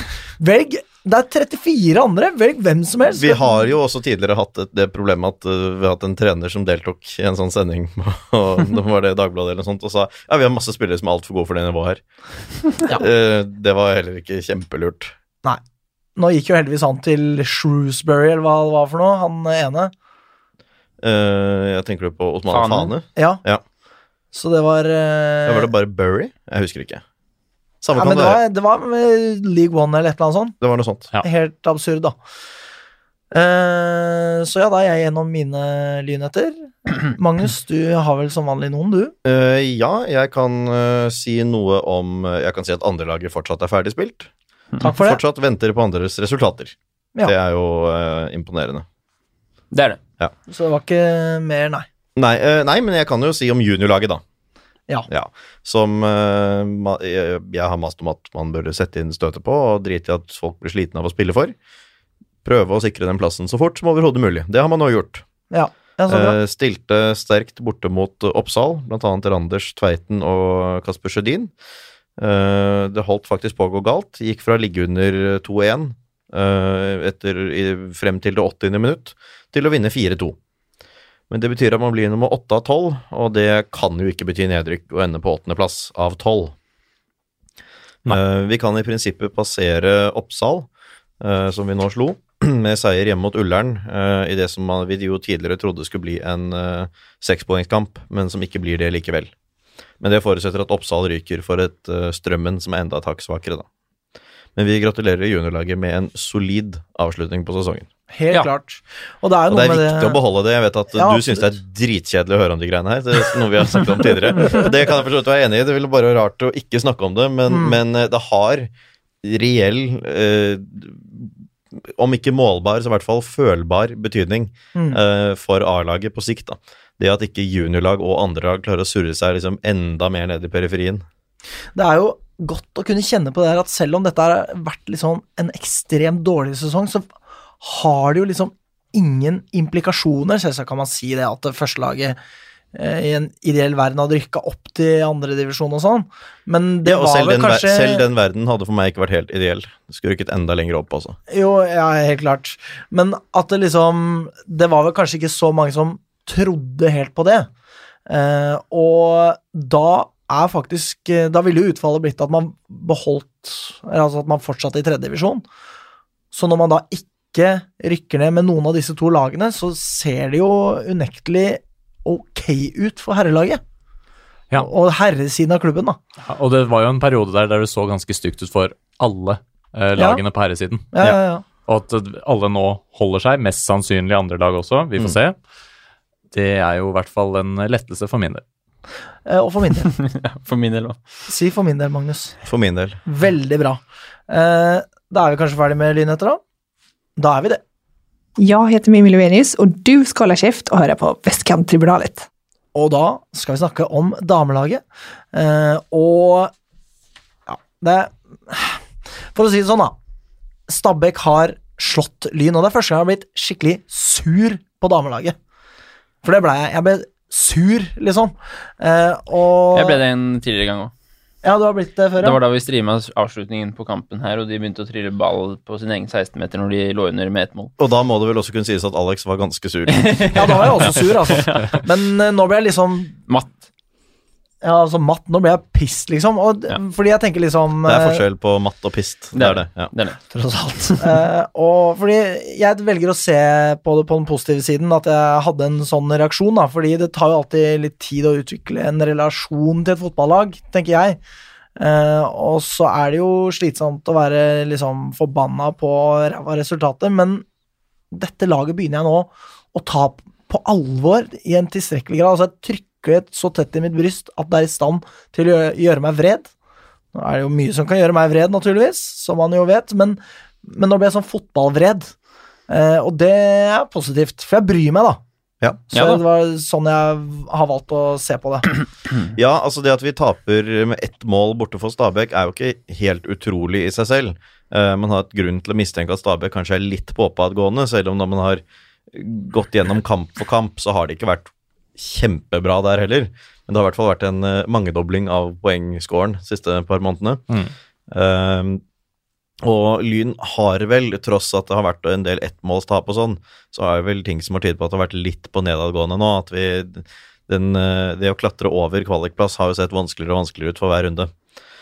S1: Velg Det er 34 andre, velg hvem som helst.
S3: Vi har jo også tidligere hatt et- det problemet at eh, vi har hatt en trener som deltok i en sånn sending, og det var det Dagbladet eller noe sånt, og sa ja, vi har masse spillere som er altfor gode for det nivået her.
S1: Ja.
S3: Eh, Det var heller ikke kjempelurt.
S1: Nå gikk jo heldigvis han til Shrewsbury, eller hva det var for noe, han ene.
S3: Eh, Jeg tenker du på Osmane
S4: Fane.
S3: Fane?
S1: Ja.
S3: Ja.
S1: Så det var eh,
S3: Ja, var det bare Bury? Jeg husker ikke. Samme
S1: ja,
S3: kan
S1: men
S3: det
S1: det
S3: være.
S1: var, det var med League One eller et eller annet sånt.
S3: Det var noe sånt.
S2: Ja.
S1: Helt absurd, da. Eh, så ja, da er jeg gjennom mine lynheter. Magnus, du har vel som vanlig noen, du.
S3: Eh, ja, jeg kan eh, si noe om eh, Jeg kan si at andrelaget fortsatt er ferdig spilt. Mm.
S1: Takk for det.
S3: Fortsatt venter på andres resultater.
S1: Ja.
S3: Det er jo eh, imponerende.
S4: Det er det.
S1: Så det var ikke mer, nei.
S3: Nei, eh, nei, men jeg kan jo si om juniorlaget, da.
S1: Ja.
S3: Som eh, ma- jeg, jeg har mast om at man burde sette inn støtet på, og drite i at folk blir slitne av å spille for. Prøve å sikre den plassen så fort som overhodet mulig. Det har man nå gjort.
S1: Ja, ja så bra.
S3: Eh, stilte sterkt borte mot eh, Oppsal, bl.a. Randers Tveiten og Kasper Sjødin. Eh, det holdt faktisk på å gå galt. Gikk fra å ligge under 2-1 eh, etter, i, frem til det 80. minutt, til å vinne 4-2. Men det betyr at man blir nummer 8 av 12, og det kan jo ikke bety nedrykk å ende på 8. plass av 12.
S2: Nei.
S3: Eh, vi kan i prinsippet passere Oppsal, eh, som vi nå slo, med seier hjemme mot Ullern eh, i det som man, vi jo tidligere trodde skulle bli en eh, sekspoengskamp, men som ikke blir det likevel. Men det forutsetter at Oppsal ryker for et eh, Strømmen som er enda et hakk svakere, da. Men vi gratulerer juniorlaget med en solid avslutning på sesongen.
S1: Helt
S4: ja.
S1: klart. Og det er jo
S3: Og det
S1: noe
S3: er
S1: med det
S3: viktig å beholde det. Jeg vet at
S1: Ja,
S3: du syns det er dritkjedelig å høre om de greiene her. Det er noe vi har snakket om tidligere. Og Det kan jeg forstå at du er enig i. Det ville bare være rart å ikke snakke om det, men,
S1: Mm.
S3: men eh, det har reell eh, om ikke målbar, så i hvert fall følbar betydning
S1: Mm.
S3: eh, for A-laget på sikt. da. Det at ikke juniorlag og andre lag klarer å surre seg liksom enda mer ned i periferien.
S1: Det er jo godt å kunne kjenne på det her at selv om dette har vært liksom en ekstremt dårlig sesong, så har det jo liksom ingen implikasjoner. Selvsagt kan man si det at det første laget eh, i en ideell verden hadde rykka opp til andredivisjon og sånn, men det
S3: Ja, og
S1: var
S3: selv
S1: vel
S3: den, ver-
S1: kanskje
S3: selv den verden hadde for meg ikke vært helt ideell. Det skulle rykket enda lenger opp, altså.
S1: Jo, ja, helt klart. Men at det liksom Det var vel kanskje ikke så mange som trodde helt på det. Eh, og da er faktisk eh, Da ville jo utfallet blitt at man beholdt eller Altså at man fortsatte i tredje divisjon. Så når man da ikke rykker ned med noen av disse to lagene, så ser det jo unektelig ok ut for herrelaget.
S2: Ja.
S1: Og herresiden av klubben, da.
S2: Ja, Og det var jo en periode der der det så ganske stygt ut for alle eh,
S1: Ja.
S2: lagene på herresiden.
S1: Ja, ja, ja.
S2: Og at eh, alle nå holder seg, mest sannsynlig andre lag også, vi får se. Det er jo i hvert fall en lettelse for min del.
S1: Eh, Og for min del.
S4: For min del òg.
S1: Si for min del, Magnus.
S3: For min del.
S1: Veldig bra. Eh, da er vi kanskje ferdig med lynheter, da? Da er vi det.
S6: Jag heter Mimmi Lovenius och du ska hålla käft och höra på Västkanttribunalet.
S1: Og da skal vi snakke om damelaget. Eh, og ja, det For å si det sånn, da. Stabæk har slått Lyn, og det er første gang jeg har blitt skikkelig sur på damelaget. For det ble jeg. Jeg ble sur, liksom. Eh, og
S4: Jeg ble det en tidligere gang òg.
S1: Ja, du har blitt det før,
S4: Det
S1: ja.
S4: var da vi streama avslutningen på kampen her, og de begynte å trille ball på sin egen 16-meter når de lå under med ett mål.
S3: Og da må det vel også kunne sies at Alex var ganske sur.
S1: Ja, da var jeg også sur, altså. Men eh, nå ble jeg liksom
S4: Matt.
S1: Ja, altså matt, nå ble jeg pissed, liksom. Og, d-
S4: Ja.
S1: Fordi jeg tenker liksom
S3: Det er
S1: eh,
S3: forskjell på matt og pist. Det er det. Ja.
S4: Det er det.
S1: Tross alt. Eh, og fordi jeg velger å se på det på den positive siden, at jeg hadde en sånn reaksjon, da. Fordi det tar jo alltid litt tid å utvikle en relasjon til et fotballag, tenker jeg. Eh, og så er det jo slitsomt å være liksom forbanna på ræva resultater, men dette laget begynner jeg nå å ta p- på alvor i en tilstrekkelig grad. Altså, jeg trykker det så tett i mitt bryst at det er i stand til å gjø- gjøre meg vred. Nå er det jo mye som kan gjøre meg vred, naturligvis, som man jo vet, men, men nå ble jeg sånn fotballvred. Eh, og det er positivt, for jeg bryr meg, da.
S3: Ja.
S1: Så
S4: Ja da.
S1: det var sånn jeg har valgt å se på det.
S3: ja, altså det at vi taper med ett mål borte for Stabæk, er jo ikke helt utrolig i seg selv. Eh, Man har et grunn til å mistenke at Stabæk kanskje er litt på oppadgående, selv om når man har gått gjennom kamp for kamp, så har det ikke vært kjempebra der heller. Men det har i hvert fall vært en eh, mangedobling av poengscoren de siste par månedene.
S2: Mm.
S3: Ehm, og Lyn har vel, tross at det har vært en del ettmålstap og sånn, så er det vel ting som har tydet på at det har vært litt på nedadgående nå. At vi, den, eh, det å klatre over kvalikplass har jo sett vanskeligere og vanskeligere ut for hver runde.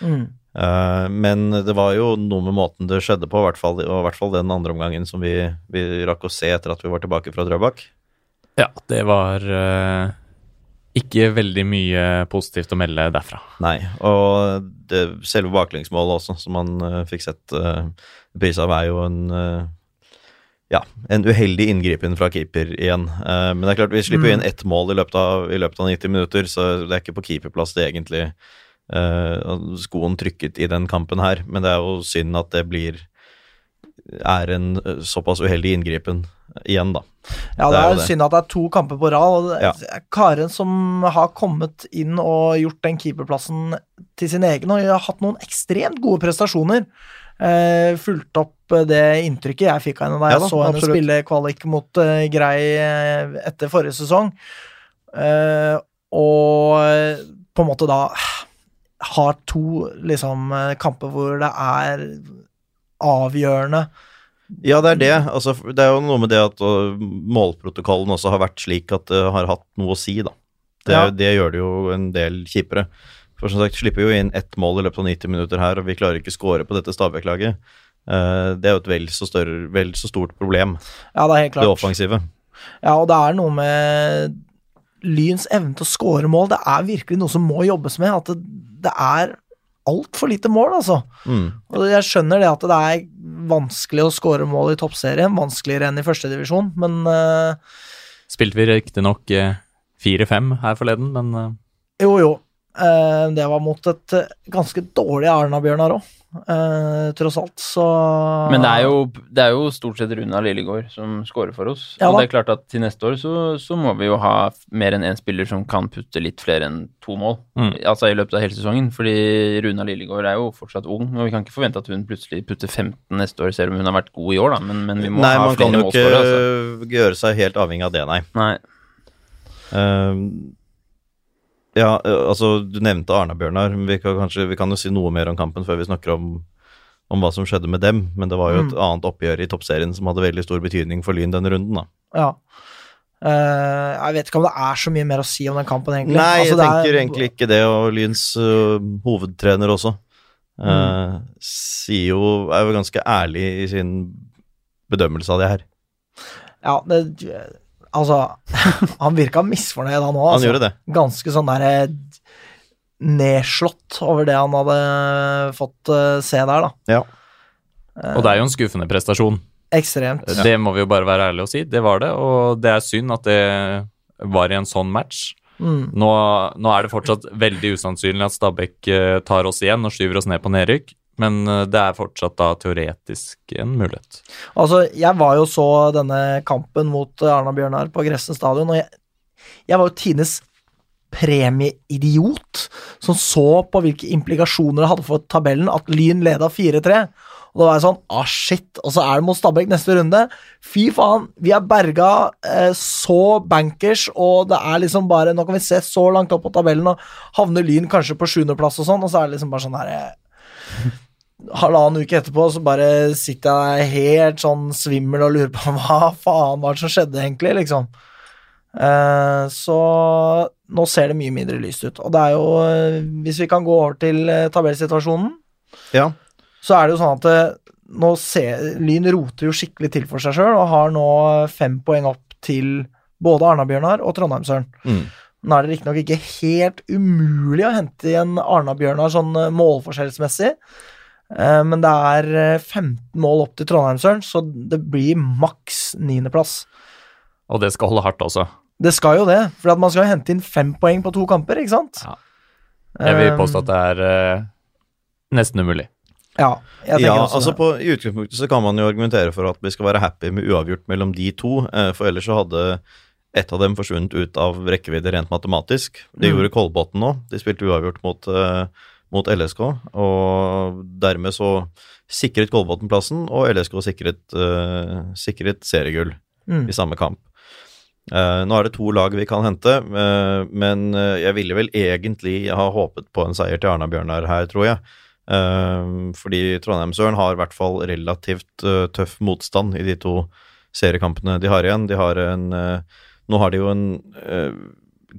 S1: Mm.
S3: Eh, men det var jo noe med måten det skjedde på, i hvert fall, og i hvert fall den andre omgangen som vi, vi rakk å se etter at vi var tilbake fra Drøbak.
S2: Ja, det var eh, ikke veldig mye positivt å melde derfra.
S3: Nei, og det, selve baklengsmålet også, som man eh, fikk sett uh, pris av, er jo en eh, ja, en uheldig inngripen fra keeper igjen. Eh, men det er klart, vi slipper jo inn ett mål i løpet, av, i løpet av 90 minutter, så det er ikke på keeperplass det egentlig eh, skoen trykket i den kampen her. Men det er jo synd at det blir er en eh, såpass uheldig inngripen igjen, da.
S1: Ja,
S3: Det
S1: det
S3: er
S1: er,
S3: jo det.
S1: synd at det er to kamper på rad. og det- Karen som har kommet inn og gjort den keeperplassen til sin egen, og har hatt noen ekstremt gode prestasjoner. Eh, fulgt opp eh, det inntrykket jeg fikk av henne da jeg
S3: Ja da,
S1: så henne
S3: absolutt.
S1: spille kvalik mot eh, Grei eh, etter forrige sesong. Eh, og eh, på en måte da eh, har to liksom eh, kamper hvor det er avgjørende
S3: Ja, det er det. Altså, det er jo noe med det at øh, målprotokollen også har vært slik at det har hatt noe å si, da. Det,
S1: Ja.
S3: det gjør det jo en del kjipere. For som sagt, slipper jo inn ett mål i løpet av 90 minutter her, og vi klarer ikke score på dette Stabæk-laget. Eh, det er jo et vel så, større, vel så stort problem,
S1: Ja, det er helt klart.
S3: det offensive.
S1: Ja, og det er noe med Lyns evne til å skåre mål. Det er virkelig noe som må jobbes med. At det, det er altfor lite mål, altså.
S3: Mm.
S1: Og jeg skjønner det at det er vanskelig å skåre mål i toppserien. Vanskeligere enn i førstedivisjon, men eh,
S2: Spilte vi riktignok uh, 4-5 her forleden, men eh,
S1: jo, jo. Eh, det var mot et eh, ganske dårlig Arna-Bjørnar òg, eh, tross alt, så
S4: Men det er, jo, det er jo stort sett Runa Lillegård som scorer for oss.
S1: Ja
S4: og
S1: da.
S4: det er klart at til neste år så, så må vi jo ha f- mer enn én spiller som kan putte litt flere enn to mål.
S2: Mm.
S4: Altså i løpet av hele sesongen, fordi Runa Lillegård er jo fortsatt ung. Og vi kan ikke forvente at hun plutselig putter 15 neste år, selv om hun har vært god i år, da. Men, men vi må
S3: Nei,
S4: ha
S3: man kan
S4: flere altså.
S3: jo ikke
S4: målskårere. Altså.
S3: gjøre seg helt avhengig av det, nei.
S4: Nei.
S3: Eh, Ja, eh, altså, du nevnte Arna-Bjørnar. men Vi, kan kanskje- vi kan jo si noe mer om kampen før vi snakker om, om hva som skjedde med dem. Men det var jo et annet oppgjør i toppserien som hadde veldig stor betydning for Lyn denne runden, da.
S1: Ja. Eh, jeg vet ikke om det er så mye mer å si om den kampen, egentlig.
S3: Nei,
S1: Altså,
S3: jeg
S1: det er-
S3: tenker egentlig ikke det, og Lyns øh, hovedtrener også øh, sier jo Er jo ganske ærlig i sin bedømmelse av det her.
S1: Ja, det, altså Han virka misfornøyd, han òg.
S3: Han
S1: Altså.
S3: gjorde det.
S1: Ganske sånn der eh, nedslått over det han hadde fått eh, se der, da.
S3: Ja.
S2: Og det er jo en skuffende prestasjon.
S1: Ekstremt.
S2: Det må vi jo bare være ærlige og si. Det var det, og det er synd at det var i en sånn match.
S1: Mm.
S2: Nå, nå er det fortsatt veldig usannsynlig at Stabæk eh, tar oss igjen og skyver oss ned på nedrykk, men eh, det er fortsatt da teoretisk en mulighet.
S1: Altså, jeg var jo så denne kampen mot eh, Arna Bjørnar på Gressen stadion, og jeg, jeg var jo tidenes premieidiot som så på hvilke implikasjoner det hadde for tabellen at Lyn leda 4-3. Og da var jeg sånn ah, shit. Og så er det mot Stabæk neste runde. Fy faen, vi er berga eh, så bankers, og det er liksom bare Nå kan vi se så langt opp på tabellen, og havner Lyn kanskje på sjuendeplass og sånn, og så er det liksom bare sånn herre halvannen uke etterpå så bare sitter jeg helt sånn svimmel og lurer på hva faen var det som skjedde egentlig, liksom. Eh, så nå ser det mye mindre lyst ut. Og det er jo, eh, hvis vi kan gå over til eh, tabellsituasjonen,
S3: Ja.
S1: så er det jo sånn at eh, nå ser, Lyn roter jo skikkelig til for seg sjøl og har nå eh, fem poeng opp til både Arna-Bjørnar og Trondheimsøren.
S3: Mm.
S1: Nå er det riktignok ikke helt umulig å hente igjen Arna-Bjørnar sånn eh, målforskjellsmessig, eh, men det er eh, 15 mål opp til Trondheimsøren, så det blir maks niendeplass.
S2: Og det skal holde hardt også.
S1: Det skal jo det, for at man skal hente inn fem poeng på to kamper, ikke sant?
S2: Ja. Jeg vil påstå
S1: Eh,
S2: at det er eh, nesten umulig.
S1: Ja, jeg
S3: ja
S1: tenker også
S3: altså
S1: det.
S3: på, I utgangspunktet så kan man jo argumentere for at vi skal være happy med uavgjort mellom de to, eh, for ellers så hadde ett av dem forsvunnet ut av rekkevidde rent matematisk.
S1: Mm.
S3: Det gjorde Kolbotn nå. De spilte uavgjort mot, eh, mot LSK, og dermed så sikret Kolbotn plassen, og LSK sikret, eh, sikret seriegull.
S1: Mm.
S3: i samme kamp. Eh, nå er det to lag vi kan hente, eh, men eh, jeg ville vel egentlig ha håpet på en seier til Arna-Bjørnar her, tror jeg. Eh, fordi Trondheimsøren har i hvert fall relativt eh, tøff motstand i de to seriekampene de har igjen. De har en eh, Nå har de jo en uh,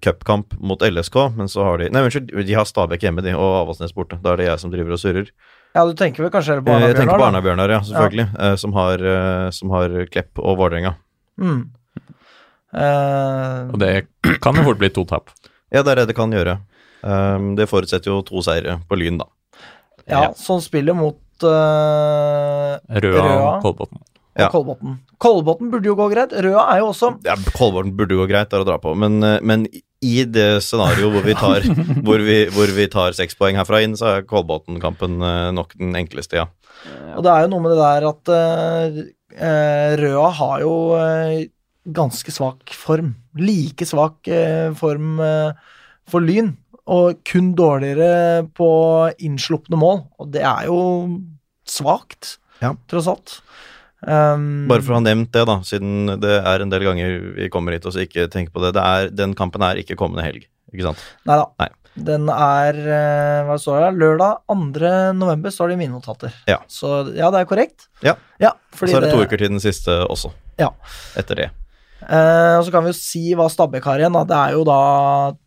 S3: cupkamp mot LSK, men så har de Nei, unnskyld, de har Stabæk hjemme, de, og Avaldsnes borte. Da er det jeg som driver og surrer.
S1: ja, du tenker vel kanskje heller på
S3: Eh, jeg tenker på
S1: Arna-Bjørnar? da?
S3: Arna-Bjørnar, ja, selvfølgelig. eh, som, har, eh, som har Klepp og Vålerenga.
S1: Mm. Eh,
S2: Og det kan jo fort bli to tap.
S3: Ja, det er det det kan gjøre. Ehm, det forutsetter jo to seire på Lyn, da.
S1: ja,
S2: ja.
S1: som spiller mot eh,
S2: Røa
S1: Røa.
S2: og Kolbotn.
S1: og
S3: Ja.
S1: Kolbotn. Kolbotn burde jo gå greit. Røa er jo også
S3: Ja, Kolvorn burde gå greit der å dra på, men, eh, men i det scenarioet hvor vi tar, hvor vi, hvor vi tar seks poeng herfra inn, så er Kolbotn-kampen eh, nok den enkleste, ja.
S1: Og det er jo noe med det der at eh, eh, Røa har jo eh, ganske svak form. Like svak eh, form eh, for Lyn, og kun dårligere på innslupne mål. Og det er jo svakt,
S3: Ja.
S1: tross alt. Um,
S3: Bare for å ha nevnt det, da, siden det er en del ganger vi kommer hit og så ikke tenker på det. det er, den kampen er ikke kommende helg, ikke sant?
S1: Nei da.
S3: Nei.
S1: Den er eh, hva står det? her? Lørdag 2. november står det i mine notater.
S3: Ja.
S1: Så ja, det er korrekt.
S3: Ja.
S1: ja
S3: Og
S1: fordi
S3: så er det to uker til den siste også,
S1: Ja.
S3: etter det.
S1: Eh, og så kan vi jo si hva Stabæk har igjen. Da. Det er jo da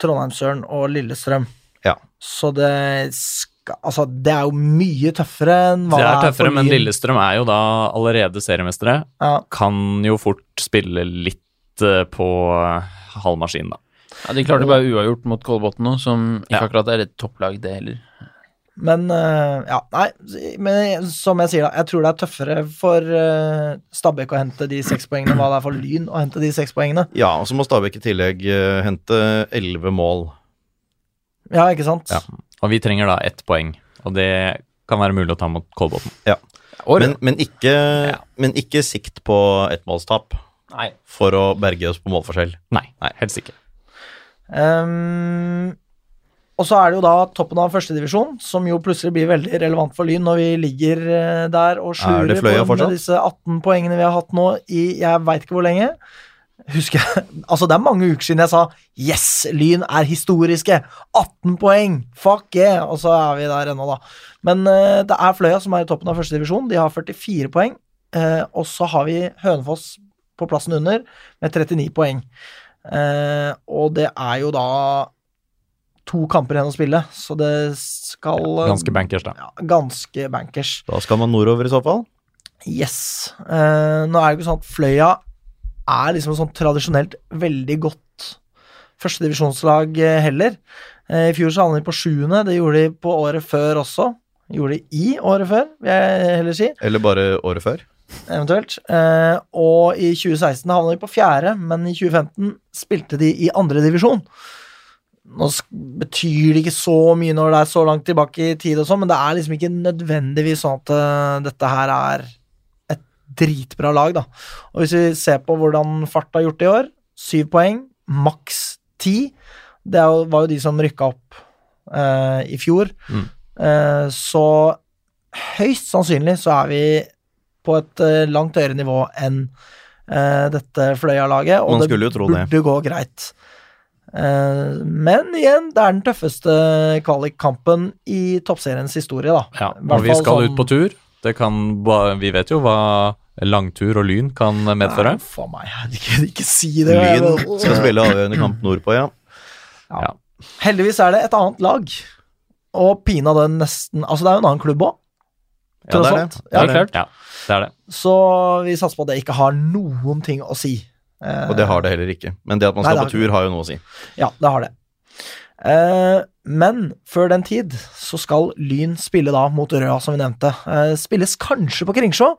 S1: Trondheimsøren og Lillestrøm.
S3: Ja.
S1: Så det skal, Altså, det er jo mye tøffere enn hva
S2: Det er
S1: for
S2: tøffere, men
S1: Lyn.
S2: Lillestrøm er jo da allerede seriemestere.
S1: ja.
S2: Kan jo fort spille litt eh, på eh, halv maskin, da.
S4: Ja, de klarte bare uavgjort mot Kolbotn nå, som ikke
S2: Ja.
S4: akkurat er et topplag, det heller.
S1: Men eh, ja, nei, men som jeg sier, da. Jeg tror det er tøffere for eh, Stabæk å hente de seks poengene enn hva det er for Lyn å hente de seks poengene.
S3: Ja, og så må Stabæk i tillegg eh, hente elleve mål.
S1: Ja, ikke sant?
S2: Ja. Og vi trenger da ett poeng, og det kan være mulig å ta mot Kolbotn.
S3: Men, men, ikke, men ikke sikt på ettmålstap
S4: Nei.
S3: for å berge oss på målforskjell.
S2: Nei, nei, helst ikke.
S1: Ehm, og så er det jo da toppen av førstedivisjon, som jo plutselig blir veldig relevant for Lyn når vi ligger eh, der og
S3: Er
S1: slurer
S3: det Fløya
S1: på med
S3: fortsatt?
S1: disse 18 poengene vi har hatt nå i jeg veit ikke hvor lenge. husker jeg, altså Det er mange uker siden jeg sa 'yes, Lyn er historiske'. 18 poeng! Fuck yeah! Og så er vi der ennå, da. Men eh, det er Fløya som er i toppen av første divisjon. De har 44 poeng. Eh, og så har vi Hønefoss på plassen under med 39 poeng. Eh, og det er jo da to kamper igjen å spille, så det skal
S2: Ganske bankers, da.
S1: ja, ganske bankers.
S3: Da skal man nordover i så fall.
S1: Yes. Eh, nå er det jo ikke sånn at Fløya er liksom sånn tradisjonelt veldig godt førstedivisjonslag eh, heller. Eh, I fjor så havnet de på sjuende, det gjorde de på året før også. Gjorde de i året før, vil jeg heller si,
S3: Eller bare året før.
S1: eventuelt. Eh, og i 2016 havnet de på fjerde, men i 2015 spilte de i andre divisjon. Nå sk- betyr det ikke så mye når det er så langt tilbake i tid og sånn, men det er liksom ikke nødvendigvis sånn at eh, dette her er et dritbra lag, da. Og hvis vi ser på hvordan Fart har gjort det i år, syv poeng, maks ti. Det er jo- var jo de som rykka opp eh, i fjor.
S2: Mm.
S1: Eh, så høyst sannsynlig så er vi på et eh, langt høyere nivå enn eh, dette Fløya-laget, og
S3: Man
S1: det
S3: skulle jo tro
S1: burde
S3: det.
S1: gå greit. Eh, men igjen, det er den tøffeste kvalikkampen i toppseriens historie, da.
S2: Ja,
S1: I hvert
S2: og vi
S1: fall
S2: skal
S1: sånn-
S2: ut på tur. Det kan, ba- vi vet jo hva langtur og lyn kan medføre.
S1: Nei, faen meg, ikke, ikke si det.
S3: Lyn
S1: jeg-
S3: skal spille avgjørende kamp nordpå, ja.
S1: Heldigvis er det et annet lag, og pinadø nesten Altså, det er jo en annen klubb òg,
S3: Ja,
S1: tross
S3: det er
S1: alt.
S3: det.
S1: Ja.
S3: Det er det.
S2: Ja, det er det.
S1: Så vi satser på at det ikke har noen ting å si. Eh,
S3: Og det har det heller ikke. Men det at man
S1: Nei,
S3: skal
S1: det
S3: på
S1: har ikke
S3: tur, har jo noe å si.
S1: Ja, det har det. Eh, men før den tid så skal Lyn spille da mot Røa, som vi nevnte. Eh, spilles kanskje på Kringsjå.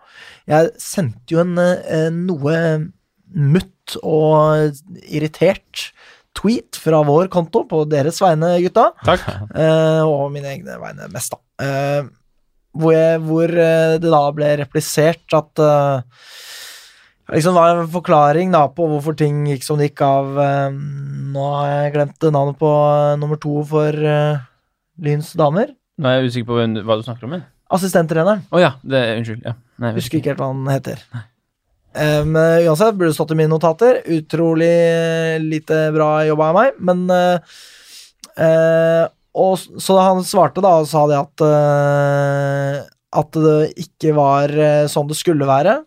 S1: Jeg sendte jo en eh, noe mutt og irritert tweet fra vår konto på deres vegne, gutta.
S4: Takk.
S1: Eh, og mine egne vegne mest, da. Eh, hvor jeg, hvor eh, det da ble replisert at eh, Liksom var en forklaring da på hvorfor ting gikk som det gikk av eh, Nå har jeg glemt navnet på eh, nummer to for eh, Lyns damer.
S4: Nå er jeg usikker på hvem, du- hva du snakker om. men-
S1: Assistenttreneren.
S4: Å ja, det, unnskyld. Ja. Nei, jeg vet
S1: Husker ikke helt hva han heter. Eh, Men uansett, burde stått i mine notater. Utrolig eh, lite bra jobba av meg, men eh, eh, og, s- Så han svarte da og sa det at eh, At det ikke var eh, sånn det skulle være.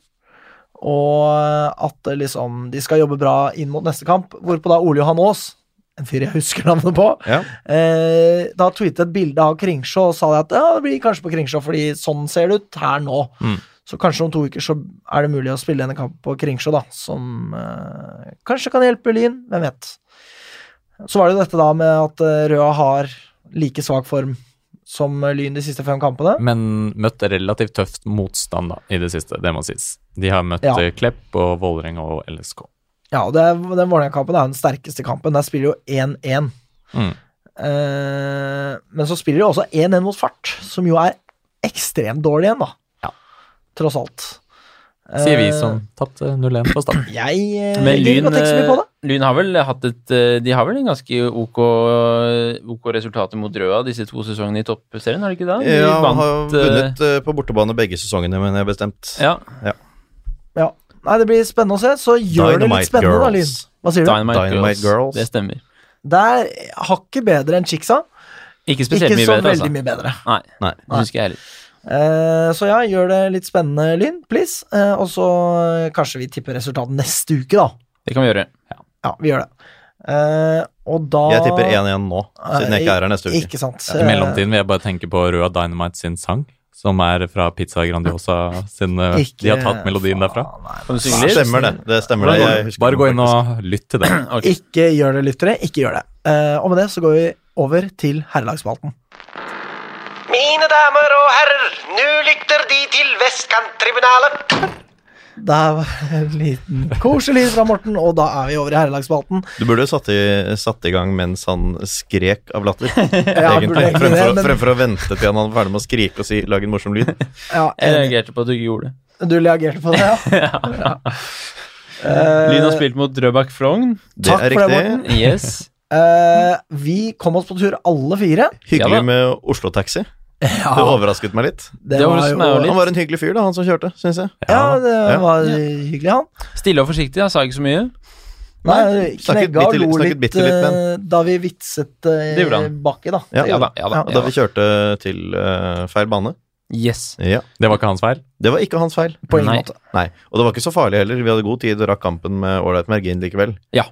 S1: Og at eh, liksom de skal jobbe bra inn mot neste kamp. Hvorpå da Ole Johan Aas, en fyr jeg husker navnet på,
S3: Ja.
S1: eh, da tweetet et bilde av Kringsjå og sa det at ja, det blir kanskje på Kringsjå, fordi sånn ser det ut her nå.
S2: Mm.
S1: Så kanskje om to uker så er det mulig å spille denne kampen på Kringsjå, da, som eh, kanskje kan hjelpe Lyn, hvem vet. Så var det jo dette da med at eh, Røa har like svak form som eh, Lyn de siste fem kampene.
S2: Men møtt relativt tøft motstand da, i det siste, det må sies. De har møtt
S1: Ja.
S2: eh, Klepp og Vålerenga og LSK.
S1: Ja, og det er, den Vålerenga-kampen er jo den sterkeste kampen. Der spiller jo 1-1.
S2: Mm.
S1: Eh, men så spiller de også 1-1 mot Fart, som jo er ekstremt dårlig igjen, da.
S2: Ja.
S1: Tross alt.
S2: Sier vi
S1: Eh,
S2: som tapte 0-1 på Stad.
S1: Jeg eh,
S4: ikke. Men
S1: legger
S4: Lyn,
S1: ikke noe tekst så mye på det.
S4: eh, Lyn har vel hatt et eh, De har vel en ganske ok, eh, ok resultater mot Røa disse to sesongene i toppserien, har de ikke det? De
S3: Ja,
S4: vant,
S3: har
S4: eh,
S3: vunnet eh, på bortebane begge sesongene, men jeg har bestemt.
S4: Ja,
S1: Ja. Nei, det blir spennende å se. Så gjør det litt
S3: Dynamite
S1: spennende, da, Lyn.
S3: Girls.
S1: Hva sier du?
S4: Dynamite,
S3: Dynamite
S4: Girls.
S3: Girls.
S4: Det stemmer.
S1: Det er hakket bedre enn Chicksa.
S4: Ikke
S1: Ikke
S4: spesielt mye
S1: så
S4: bedre, altså.
S1: veldig mye bedre.
S4: Nei,
S3: Nei.
S4: det husker jeg heller.
S1: Eh, så ja, gjør det litt spennende, Lyn. Please. Eh, og så eh, kanskje vi tipper resultatet neste uke, da.
S4: Det kan vi gjøre.
S1: Ja, vi gjør det. Eh, og da
S3: Jeg tipper 1-1 nå, siden jeg ikke er her neste uke.
S1: Ikke sant.
S2: I mellomtiden vil jeg bare tenke på Røa Dynamite sin sang, som er fra Pizza Grandiosa sin eh,
S1: Ikke-
S2: De har tatt melodien derfra.
S1: Faen, nei.
S4: Kan du synge
S3: Det
S4: litt?
S3: stemmer, det. det stemmer det. Jeg husker
S2: Bare
S3: det
S2: gå inn
S3: faktisk.
S2: og lytt til den.
S4: Ok.
S1: Ikke gjør det, lyttere. Ikke gjør det. Eh, og med det så går vi over til herrelagsspalten.
S7: Mine damer og herrer, nå lytter De til Vestkanttribunalet.
S1: Der var en liten koselig lyd fra Morten, og da er vi over i herrelagsspalten.
S3: Du burde jo satt i, satt i gang mens han skrek av latter.
S1: Ja, burde
S3: Egentlig.
S1: egentlig
S3: Fremfor,
S1: det,
S3: å,
S1: men-
S3: fremfor å vente til han er ferdig med å skrike og si 'lag en morsom lyd'.
S1: Ja,
S4: Jeg
S1: enig.
S4: reagerte på at du ikke gjorde det.
S1: du reagerte på det, ja? Eh,
S4: Lyn har spilt mot Drøbak Frogn.
S3: Det
S1: Takk
S3: er
S1: for det,
S3: riktig.
S1: Morten.
S4: Yes.
S1: eh, vi kom oss på tur alle fire.
S3: Hyggelig
S4: Ja da.
S3: med Oslo-taxi. Det overrasket meg litt.
S1: Det,
S4: Det var
S1: var
S4: nesten
S1: jo
S4: meg også litt.
S3: Han var en hyggelig fyr, da, han som kjørte, syns jeg.
S1: Ja, det
S3: Ja.
S1: var hyggelig, han.
S4: Stille og forsiktig, jeg sa ikke så mye.
S1: Nei,
S3: Snakket
S1: knegga og
S3: bitte litt-
S1: lo
S3: snakket
S1: litt
S3: bitte litt, men-
S1: eh, da vi vitset eh,
S4: Det gjorde han.
S1: baki, da.
S3: Ja.
S4: Ja da, ja da,
S3: Og da vi kjørte til eh, feil bane.
S4: Yes.
S3: Ja.
S2: Det var ikke hans feil.
S3: Det var ikke hans feil.
S1: På ingen
S4: Nei.
S1: måte.
S3: Nei, Og det var ikke så farlig heller. Vi hadde god tid og rakk kampen med ålreit margin likevel.
S4: Ja.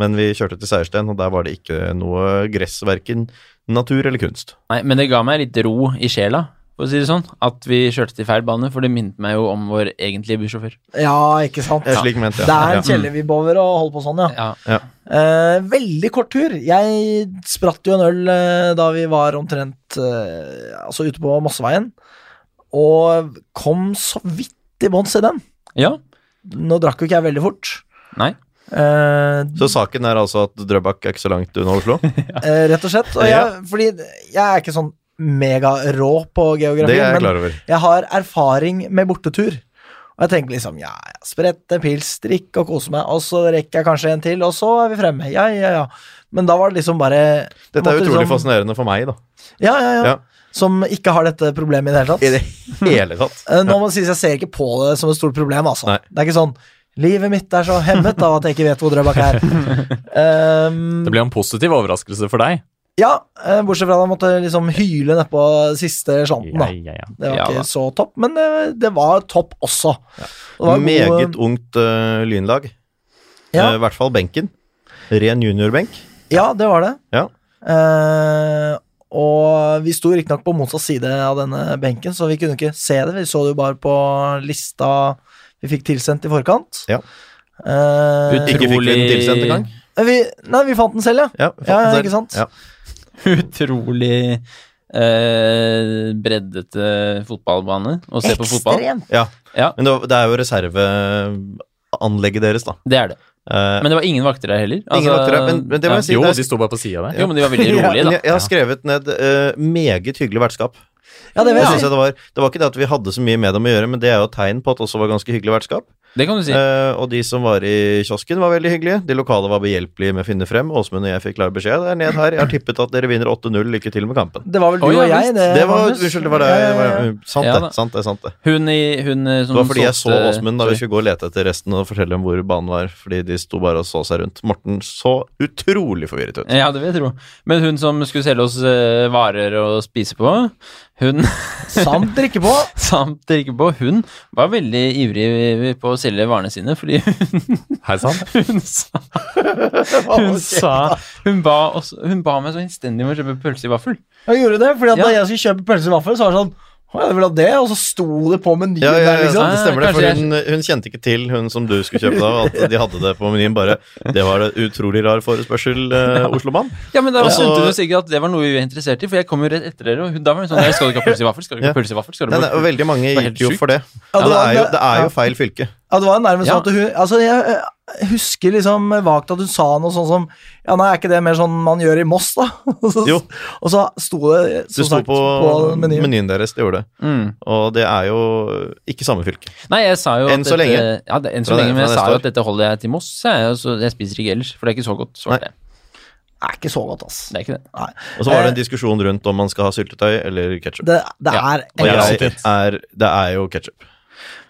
S3: Men vi kjørte til Seiersten, og der var det ikke noe gress, verken natur eller kunst.
S4: Nei, men det ga meg litt ro i sjela, for å si det sånn, at vi kjørte til feil bane, for det minnet meg jo om vår egentlige bussjåfør.
S1: Ja, ikke sant.
S3: Det er slik ment, ja.
S1: Det er en
S3: ja.
S1: kjeller vi bover og holder på sånn, ja.
S4: Ja.
S1: Eh, veldig kort tur. Jeg spratt jo en øl eh, da vi var omtrent eh, altså ute på Mosseveien, og kom så vidt i bånns i den.
S4: ja.
S1: Nå drakk jo ikke jeg veldig fort.
S4: Nei.
S1: Eh,
S3: Så saken er altså at Drøbak er ikke så langt unna Oslo?
S1: eh, rett og slett. Og jeg, fordi jeg er ikke sånn megarå på
S3: Det
S1: geografi,
S3: er jeg
S1: men
S3: klar over.
S1: jeg har erfaring med bortetur. Og jeg tenker liksom ja, ja, sprette en pils, drikke og kose meg, og så rekker jeg kanskje en til, og så er vi fremme. Ja, ja, ja. Men da var det liksom bare
S3: Dette er
S1: måtte
S3: utrolig
S1: liksom-
S3: fascinerende for meg, da.
S1: Ja, ja, ja.
S3: Ja.
S1: Som ikke har dette problemet i det hele tatt.
S3: I det hele tatt.
S1: Eh, Nå må det sies, jeg ser ikke på det som et stort problem, altså.
S3: Nei.
S1: Det er ikke sånn Livet mitt er så hemmet av at jeg ikke vet hvor Drøbak er. Ehm,
S2: Det ble en positiv overraskelse for deg.
S1: ja, eh, bortsett fra at jeg måtte liksom hyle nedpå siste slanten, da.
S2: ja, ja.
S1: Det var
S4: Ja, da.
S1: ikke så topp, men det, det var topp også. Det var god-
S3: Meget ungt eh, lynlag.
S1: Ja.
S3: Eh, I hvert fall benken. Ren juniorbenk.
S1: Ja, det var det.
S3: Ja.
S1: Eh, og vi sto riktignok på motsatt side av denne benken, så vi kunne ikke se det. Vi så det jo bare på lista vi fikk tilsendt i forkant.
S3: Ja.
S1: Eh,
S3: Ikke fikk vi den tilsendt engang?
S1: vi, nei, vi fant den selv, ja.
S3: Ja, fant
S1: Ja,
S3: den selv.
S1: ikke sant?
S3: Ja.
S4: Utrolig eh, breddete fotballbane å se på fotball.
S1: Ekstremt.
S3: ja.
S4: Ja.
S3: Men det, var- det er jo reserveanlegget deres, da.
S4: Det er det.
S3: Eh,
S4: Men det var ingen vakter der heller. Altså,
S3: Ingen vakter der, men- men det må jeg si.
S2: Jo,
S3: det er-
S2: de sto bare på sida der.
S4: Jo, men de var veldig
S3: Ja,
S4: rolige,
S3: men
S4: da.
S3: jeg, jeg har skrevet ned eh, meget hyggelig vertskap.
S1: Ja, det vil
S3: Jeg
S1: jeg
S3: synes
S1: si.
S3: jeg det, var, det var ikke det at vi hadde så mye med dem å gjøre, men det er jo et tegn på at det også var ganske hyggelig vertskap.
S4: Det kan du si.
S3: Eh, og de som var i kiosken, var veldig hyggelige. De lokale var behjelpelige med å finne frem. Åsmund og jeg fikk klar beskjed. Det er ned her. Jeg har tippet at dere vinner 8-0. Lykke til med kampen.
S1: Det var vel du
S4: Å, ja,
S1: og jeg,
S4: visst.
S1: det.
S3: Det
S1: Eh,
S3: var
S1: Magnus. Eh,
S3: Unnskyld, det var det.
S1: Ja, ja, ja.
S3: det var- Sant,
S4: Ja,
S3: det,
S4: da.
S3: sant det. sant Det
S4: Hun, i, hun eh, som
S3: Det var fordi jeg så
S4: solgte-
S3: Åsmund da vi skulle gå og lete etter resten og fortelle om hvor banen var, fordi de sto bare og så seg rundt. Morten så utrolig forvirret ut.
S4: Ja, det vil jeg tro. Men hun som skulle selge oss eh, varer å spise på, hun
S1: Samt drikke på.
S4: samt drikke på, hun var veldig ivrig på å selge varene sine, fordi
S2: Hei sann.
S4: hun sa Hun sa Hun ba, oss, hun ba meg så innstendig om å kjøpe pølse i vaffel.
S1: Jeg gjorde det, fordi at
S4: Ja.
S1: da jeg skulle kjøpe pølse i vaffel, så var det sånn Å ja, du vil ha det? Og så sto det på menyen
S3: Ja, ja,
S1: der,
S3: ja,
S1: liksom.
S3: det stemmer det, for
S4: Kanskje jeg-
S3: hun, hun kjente ikke til hun som du skulle kjøpe da, at de hadde det på menyen. Bare Det var det utrolig rar forespørsel, eh, Oslomann.
S4: Ja, men da
S3: Og så-
S4: skjønte hun jo sikkert at det var noe vi var interessert i, for jeg kom jo rett etter dere, og hun, da var hun sånn «Nei, Skal du ikke ha pølse i vaffel? Skal du ikke
S3: Ja.
S4: ha pølse i vaffel? Skal du
S3: Nei, nei, og
S4: ikke ha
S3: veldig mange
S4: Det var helt
S3: gikk jo
S4: sjukt.
S3: for det.
S1: Ja,
S3: Ja,
S1: det
S3: det,
S1: var-
S3: er jo, det er
S1: ja.
S3: jo feil fylke.
S1: Ja, det var jo nærmest
S4: Ja.
S1: sånn at hun Altså, jeg eh, husker liksom vagt at hun sa noe sånn som Ja, nei, er ikke det mer sånn man gjør i Moss, da? Og så,
S3: Jo.
S1: Og så sto det,
S3: Det
S1: som
S3: sto
S1: sagt,
S3: på
S1: på, menyen.
S3: menyen deres, det gjorde det.
S4: Mm.
S3: Og det er jo ikke samme fylke.
S4: Nei, jeg sa jo
S3: Enn
S4: at
S3: så
S4: dette-
S3: lenge.
S4: Ja, det, enn
S3: Fra
S4: så lenge,
S3: det-
S4: men
S3: fra
S4: jeg sa
S3: neste
S4: jo
S3: år.
S4: at dette holder jeg til Moss, jeg, og så jeg spiser ikke ellers, for det er ikke så godt.
S3: Nei.
S4: Svarte jeg.
S1: Det er ikke så godt, ass.
S4: Det er ikke det.
S1: Nei. Eh,
S3: Og så var det en diskusjon rundt om man skal ha syltetøy eller ketsjup.
S1: Det, det
S4: Ja.
S1: er
S3: Og
S1: en
S2: Ja.
S1: grei-
S3: jeg er Det er jo ketsjup.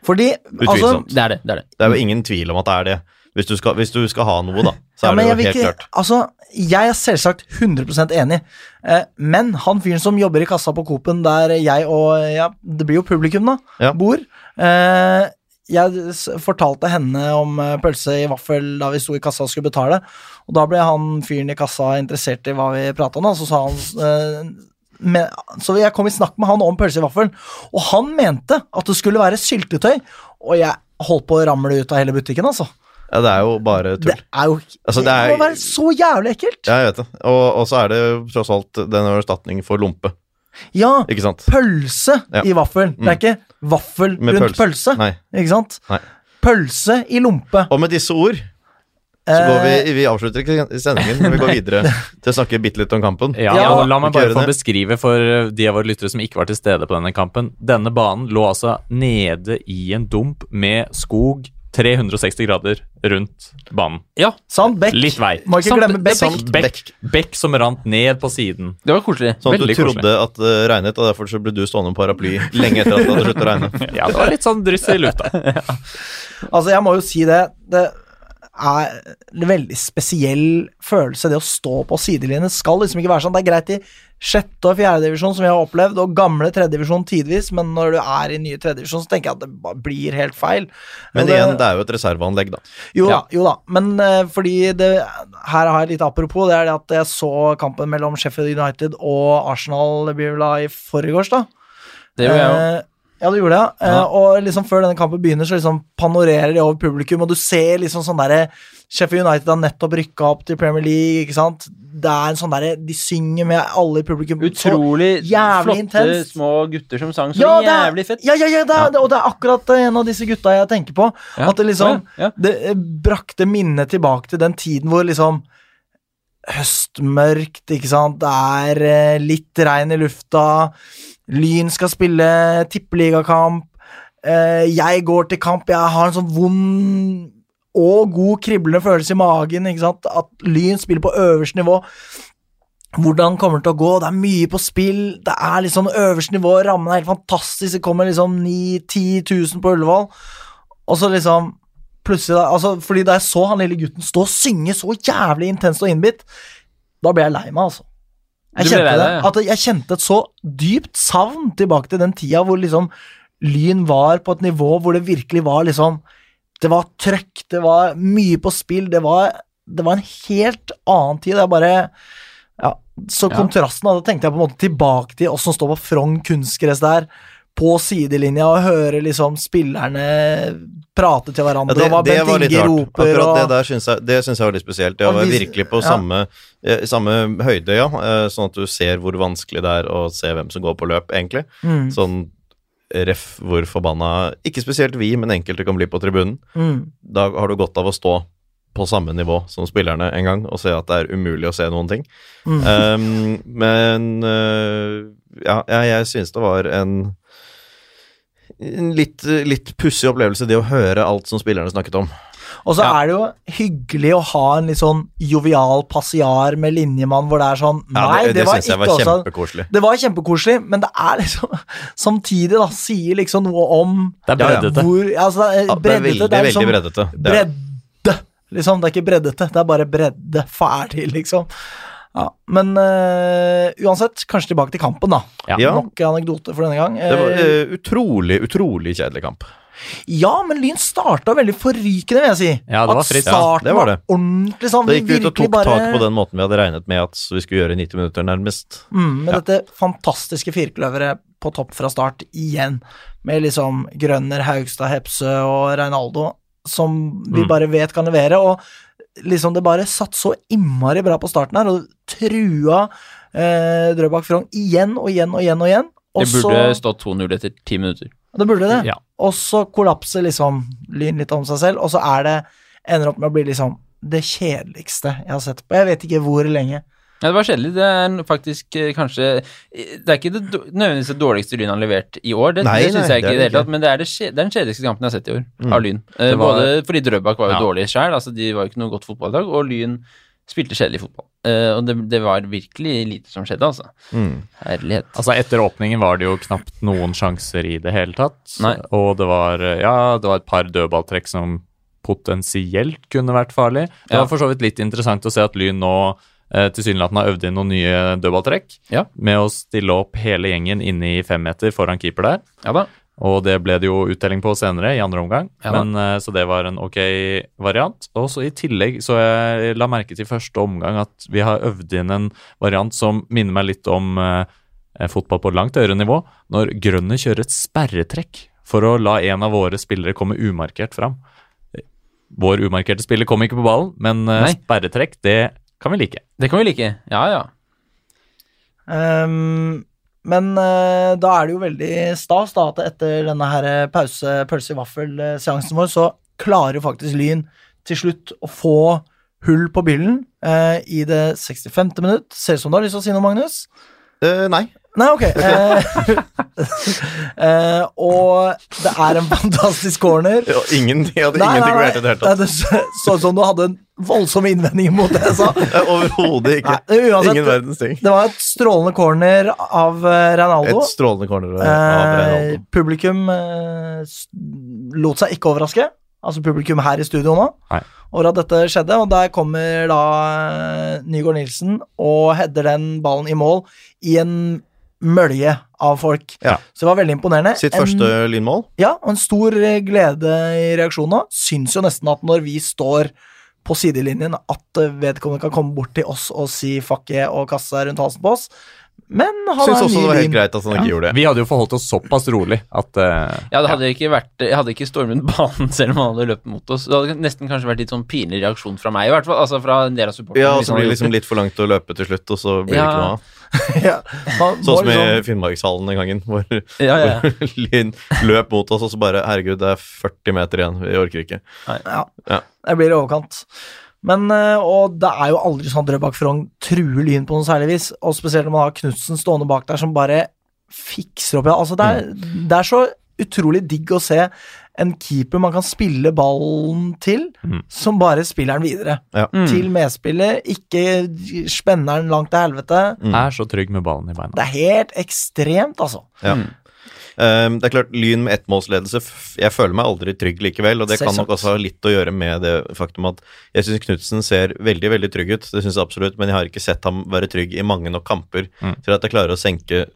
S1: Fordi altså,
S3: Utvilsomt.
S4: Det er det. det, er det.
S3: Det er jo ingen tvil om at det er det. Hvis du skal, hvis du skal ha noe, da, så
S1: ja,
S3: er
S1: men
S3: det
S1: jeg,
S3: jo
S1: vil
S3: helt
S1: ikke,
S3: klart.
S1: altså, jeg er selvsagt 100 enig, eh, men han fyren som jobber i kassa på Coop-en der jeg og ja, det blir jo publikum, da,
S3: Ja.
S1: bor eh, Jeg s- fortalte henne om eh, pølse i vaffel da vi sto i kassa og skulle betale, og da ble han fyren i kassa interessert i hva vi prata om, da, så sa han eh, men, så jeg kom i snakk med han om pølse i vaffel, og han mente at det skulle være syltetøy, og jeg holdt på å ramle ut av hele butikken, altså.
S3: Ja, det er jo bare tull.
S1: Det er jo
S3: Altså, det
S1: det,
S3: er-
S1: må være så jævlig ekkelt!
S3: Ja, jeg vet det. Og, og så er det tross alt den er erstatning for lompe,
S1: Ja,
S3: ikke sant?
S1: pølse
S3: Ja. Mm.
S1: i vaffel. Det er ikke vaffel
S3: Med
S1: rundt pølse,
S3: Nei.
S1: ikke sant?
S3: Nei.
S1: Pølse i lompe. Eh,
S3: Og med disse ord så går vi Vi avslutter ikke sendingen, men vi går videre til å snakke bitte litt om kampen.
S2: Ja,
S1: Ja.
S2: og La meg bare
S3: Gjøre
S2: få
S3: det.
S2: beskrive for eh, de av våre lyttere som ikke var til stede på denne kampen. Denne banen lå altså nede i en dump med skog 360 grader rundt banen.
S4: Ja,
S1: Sand Bekk.
S2: Litt vei.
S1: Må ikke
S4: Sand-
S1: glemme Bekk.
S3: Sand- Bekk.
S2: Bekk, bekk som rant ned på siden.
S4: det var koselig.
S3: Sånn at du
S2: Veldig
S3: trodde
S2: koselig.
S3: at det regnet, og derfor så ble du stående med paraply lenge etter at det hadde sluttet å regne.
S2: Ja, det var litt sånn dryss i lufta.
S1: Altså, jeg må jo si det. det er en veldig spesiell følelse, det å stå på sidelinjen. Det skal liksom ikke være sånn. Det er greit i sjette og fjerde divisjon, som vi har opplevd, og gamle tredje divisjon tidvis, men når du er i nye tredje divisjon, så tenker jeg at det bare blir helt feil.
S3: Men
S1: Og det-
S3: igjen, det er jo et reserveanlegg, da.
S1: jo da,
S2: Ja.
S1: jo da. Men eh, fordi det, Her har jeg litt apropos. Det er det at jeg så kampen mellom Sheffield United og Arsenal det blir vel da i forgårs, da.
S4: Det gjorde jeg òg.
S1: Eh, Ja, du gjorde det, ja. Eh,
S4: Ja.
S1: Og liksom før denne kampen begynner, så liksom panorerer de over publikum, og du ser liksom sånn derre Sheffield United har nettopp rykka opp til Premier League, ikke sant. Det er en sånn derre De synger med alle i publikum. Så-
S4: Utrolig
S1: jævlig
S4: flotte
S1: intenst.
S4: små gutter som sang så
S1: Ja, det er-
S4: jævlig fett.
S1: Ja, ja, ja, det er,
S4: Ja.
S1: det- og det er akkurat eh, en av disse gutta jeg tenker på.
S4: Ja.
S1: At det liksom
S4: Ja, ja.
S1: Det eh, brakte minnet tilbake til den tiden hvor liksom Høstmørkt, ikke sant. Det er eh, litt regn i lufta. Lyn skal spille tippeligakamp. Eh, jeg går til kamp. Jeg har en sånn vond og god kriblende følelse i magen. ikke sant? At Lyn spiller på øverste nivå. Hvordan kommer det til å gå? Det er mye på spill. Det er liksom øverste nivå. Rammen er helt fantastisk. Det kommer liksom 9 10 000 på Ullevål. Og så liksom plutselig da, altså, Fordi da jeg så han lille gutten stå og synge så jævlig intenst og innbitt, da ble jeg lei meg, altså. Jeg
S4: Du ble
S1: kjente,
S4: lei
S1: det,
S4: deg, ja.
S1: at jeg kjente et så dypt savn tilbake til den tida hvor liksom Lyn var på et nivå hvor det virkelig var liksom Det var trøkk, det var mye på spill, det var, det var en helt annen tid. Det er bare ja, Så
S4: Ja.
S1: kontrasten da, da tenkte jeg på en måte tilbake til oss som står på Frogn kunstgress der, på sidelinja, og hører liksom spillerne prate til hverandre,
S3: Ja, det,
S1: og hva
S3: det
S1: Bent
S3: var litt
S1: Inge
S3: rart.
S1: roper
S3: Akkurat
S1: og
S3: det der syns jeg, det syns jeg var litt spesielt. Det
S1: Og
S3: var
S1: vis-
S3: virkelig på
S1: ja.
S3: samme, eh, samme høyde, ja. eh, Sånn at du ser hvor vanskelig det er å se hvem som går på løp, egentlig.
S1: Mm,
S3: Sånn ref hvor forbanna Ikke spesielt vi, men enkelte kan bli på tribunen.
S1: mm.
S3: Da har du godt av å stå på samme nivå som spillerne en gang og se at det er umulig å se noen ting.
S1: Mm.
S3: Um, men øh, ja, ja, jeg synes det var en, en litt, litt pussig opplevelse, det å høre alt som spillerne snakket om.
S1: Og så
S4: Ja.
S1: er det jo hyggelig å ha en litt sånn jovial passiar med linjemann, hvor det er sånn Nei,
S3: Ja,
S1: det, var
S3: synes jeg
S1: ikke
S3: var
S1: også
S3: kjempekoselig.
S1: Det var kjempekoselig, men det er liksom Samtidig, da, sier liksom noe om
S2: Det er
S3: Ja, ja.
S2: breddete.
S1: hvor altså, det er
S3: Ja, det er veldig,
S1: breddete. Det er liksom
S3: veldig breddete. Det er,
S1: bredde. Liksom, det er ikke breddete, det er bare bredde. Ferdig, liksom. Ja, men eh, uansett, kanskje tilbake til kampen, da.
S2: Ja.
S3: ja,
S1: Nok anekdote for denne gang.
S3: det var
S1: Eh,
S3: øh, utrolig, utrolig kjedelig kamp.
S1: ja, men Lyn starta veldig forrykende, vil jeg si.
S2: Ja, det var
S1: At
S2: friskt.
S3: Ja,
S1: starten
S3: det
S1: var
S3: var det.
S1: ordentlig sånn.
S3: Da
S1: vi
S3: gikk vi ut og
S1: virkelig
S3: tok
S1: bare-
S3: tak på den måten vi hadde regnet med at vi skulle gjøre i 90 minutter, nærmest.
S1: Mm, med
S3: Ja.
S1: dette fantastiske firkløveret på topp fra start igjen, med liksom Grønner, Haugstad, Hepsø og Reinaldo, som vi
S3: Mm.
S1: bare vet kan levere, og liksom det bare satt så innmari bra på starten her, og trua eh, Drøbak Frogn igjen og igjen og igjen og igjen. Og
S4: Det burde
S1: så-
S4: stått 2-0 etter ti minutter.
S1: det burde det.
S2: Ja.
S1: Og så kollapser liksom Lyn litt om seg selv, og så er det ender opp med å bli liksom det kjedeligste jeg har sett på. Jeg vet ikke hvor lenge.
S4: Ja, det var kjedelig. Det er faktisk eh, kanskje Det er ikke det do- nødvendigvis det dårligste Lyn har levert i år, det,
S3: Nei,
S4: det syns
S3: nei,
S4: jeg ikke
S3: det er Mm.
S4: i det
S3: det
S4: hele tatt, men det er, det, skje- det er den kjedeligste kampen jeg har sett i år, av Lyn. Eh,
S2: Det var-
S4: Både fordi Drøbak var jo
S2: Ja.
S4: dårlig sjøl, altså de var jo ikke noe godt fotballag, og Lyn spilte kjedelig fotball. Eh, og det, det var virkelig lite som skjedde, altså.
S3: Mm.
S4: Herlighet.
S2: Altså Etter åpningen var det jo knapt noen sjanser i det hele tatt.
S4: Nei.
S2: Og det var, eh, ja, det var et par dødballtrekk som potensielt kunne vært farlig. Det
S4: Ja.
S2: var for så vidt litt interessant å se at Lyn nå eh, tilsynelatende har øvd inn noen nye dødballtrekk.
S4: Ja.
S2: Med å stille opp hele gjengen inne i femmeter foran keeper der.
S4: ja da.
S2: Og det ble det jo uttelling på senere, i andre omgang.
S4: Ja da.
S2: Men, eh, så det var en ok variant. Og så i tillegg så jeg la merke til første omgang at vi har øvd inn en variant som minner meg litt om eh, fotball på langt høyere nivå, når Grønner kjører et sperretrekk for å la en av våre spillere komme umarkert fram. Vår umarkerte spiller kom ikke på ballen, men eh,
S4: Nei.
S2: sperretrekk, det kan vi like.
S4: Det kan vi like. Ja, ja.
S1: Ehm, men eh, da er det jo veldig stas da, at etter denne her eh, pause, pølse i vaffel-seansen vår, så klarer jo faktisk Lyn til slutt å få hull på byllen eh, i det 65. minutt. Ser ut som du har lyst til å si noe, Magnus?
S3: Eh, nei.
S1: Nei, ok. Eh, eh, og det er en fantastisk corner.
S3: Ja, ingen, jeg hadde ingenting å gjøre til det hele
S1: Nei,
S3: tatt.
S1: det så- så ut som du hadde en voldsom innvending mot det jeg sa.
S3: Eh, Overhodet ikke.
S1: Nei, altså, uansett,
S3: Ingen verdens ting.
S1: Det var et strålende corner av eh, Reinaldo.
S3: Et strålende corner av
S1: Eh,
S3: Reinaldo.
S1: publikum eh, s- lot seg ikke overraske. altså publikum her i studio nå,
S2: Nei.
S1: over at dette skjedde. Og der kommer da eh, Nygaard Nilsen og header den ballen i mål i en mølje av folk.
S3: Ja.
S1: Så det var veldig imponerende.
S3: Sitt
S1: eh, En-
S3: første lynmål.
S1: ja, og en stor eh, glede i reaksjonen nå. Syns jo nesten at når vi står på sidelinjen, at eh, vedkommende kan komme bort til oss og si fuck yeah og kaste seg rundt halsen på oss. Men han
S3: Syns
S1: er
S3: også
S1: ny
S3: det var helt
S1: lyn.
S3: greit at han ikke gjorde det.
S2: Vi hadde jo forholdt oss såpass rolig at eh,
S4: Ja, det hadde ikke vært, Jeg hadde ikke stormet banen selv om han hadde løpt mot oss. Det hadde nesten kanskje vært litt sånn pinlig reaksjon fra meg, i hvert fall. Altså fra en del av supporterne.
S3: Ja, og
S4: hvis
S3: så
S4: han
S3: blir det
S4: hadde
S3: liksom
S4: gjort
S3: litt for langt å løpe til slutt, og så blir det
S4: Ja.
S3: ikke noe av.
S1: Ja, han
S3: Sånn
S1: var
S3: som i
S1: liksom-
S3: Finnmarkshallen den gangen, hvor,
S4: det. ja, ja, ja.
S3: hvor Lyn løp mot oss, og så bare Herregud, det er 40 meter igjen, vi orker ikke.
S1: Ja,
S3: Ja.
S1: det blir i overkant. Men, eh, og det er jo aldri sånn at Drøbak Frogn truer Lyn på noe særlig vis, og spesielt når man har Knutsen stående bak der som bare fikser opp ja. Altså, det er, det er så utrolig digg å se en keeper man kan spille ballen til,
S2: Mm.
S1: som bare spiller den videre.
S3: Ja.
S4: Mm.
S1: Til medspillet, ikke spenner den langt til helvete.
S4: Mm.
S2: er så trygg med ballen i beina.
S1: Det er helt ekstremt, altså.
S3: Ja. Um, det er klart, Lyn med ettmålsledelse f- Jeg føler meg aldri trygg likevel, og det kan nok
S1: Selvsagt.
S3: også ha litt å gjøre med det faktum at jeg syns Knutsen ser veldig veldig trygg ut, det synes jeg absolutt, men jeg har ikke sett ham være trygg i mange nok kamper
S2: Mm.
S3: til at jeg klarer å senke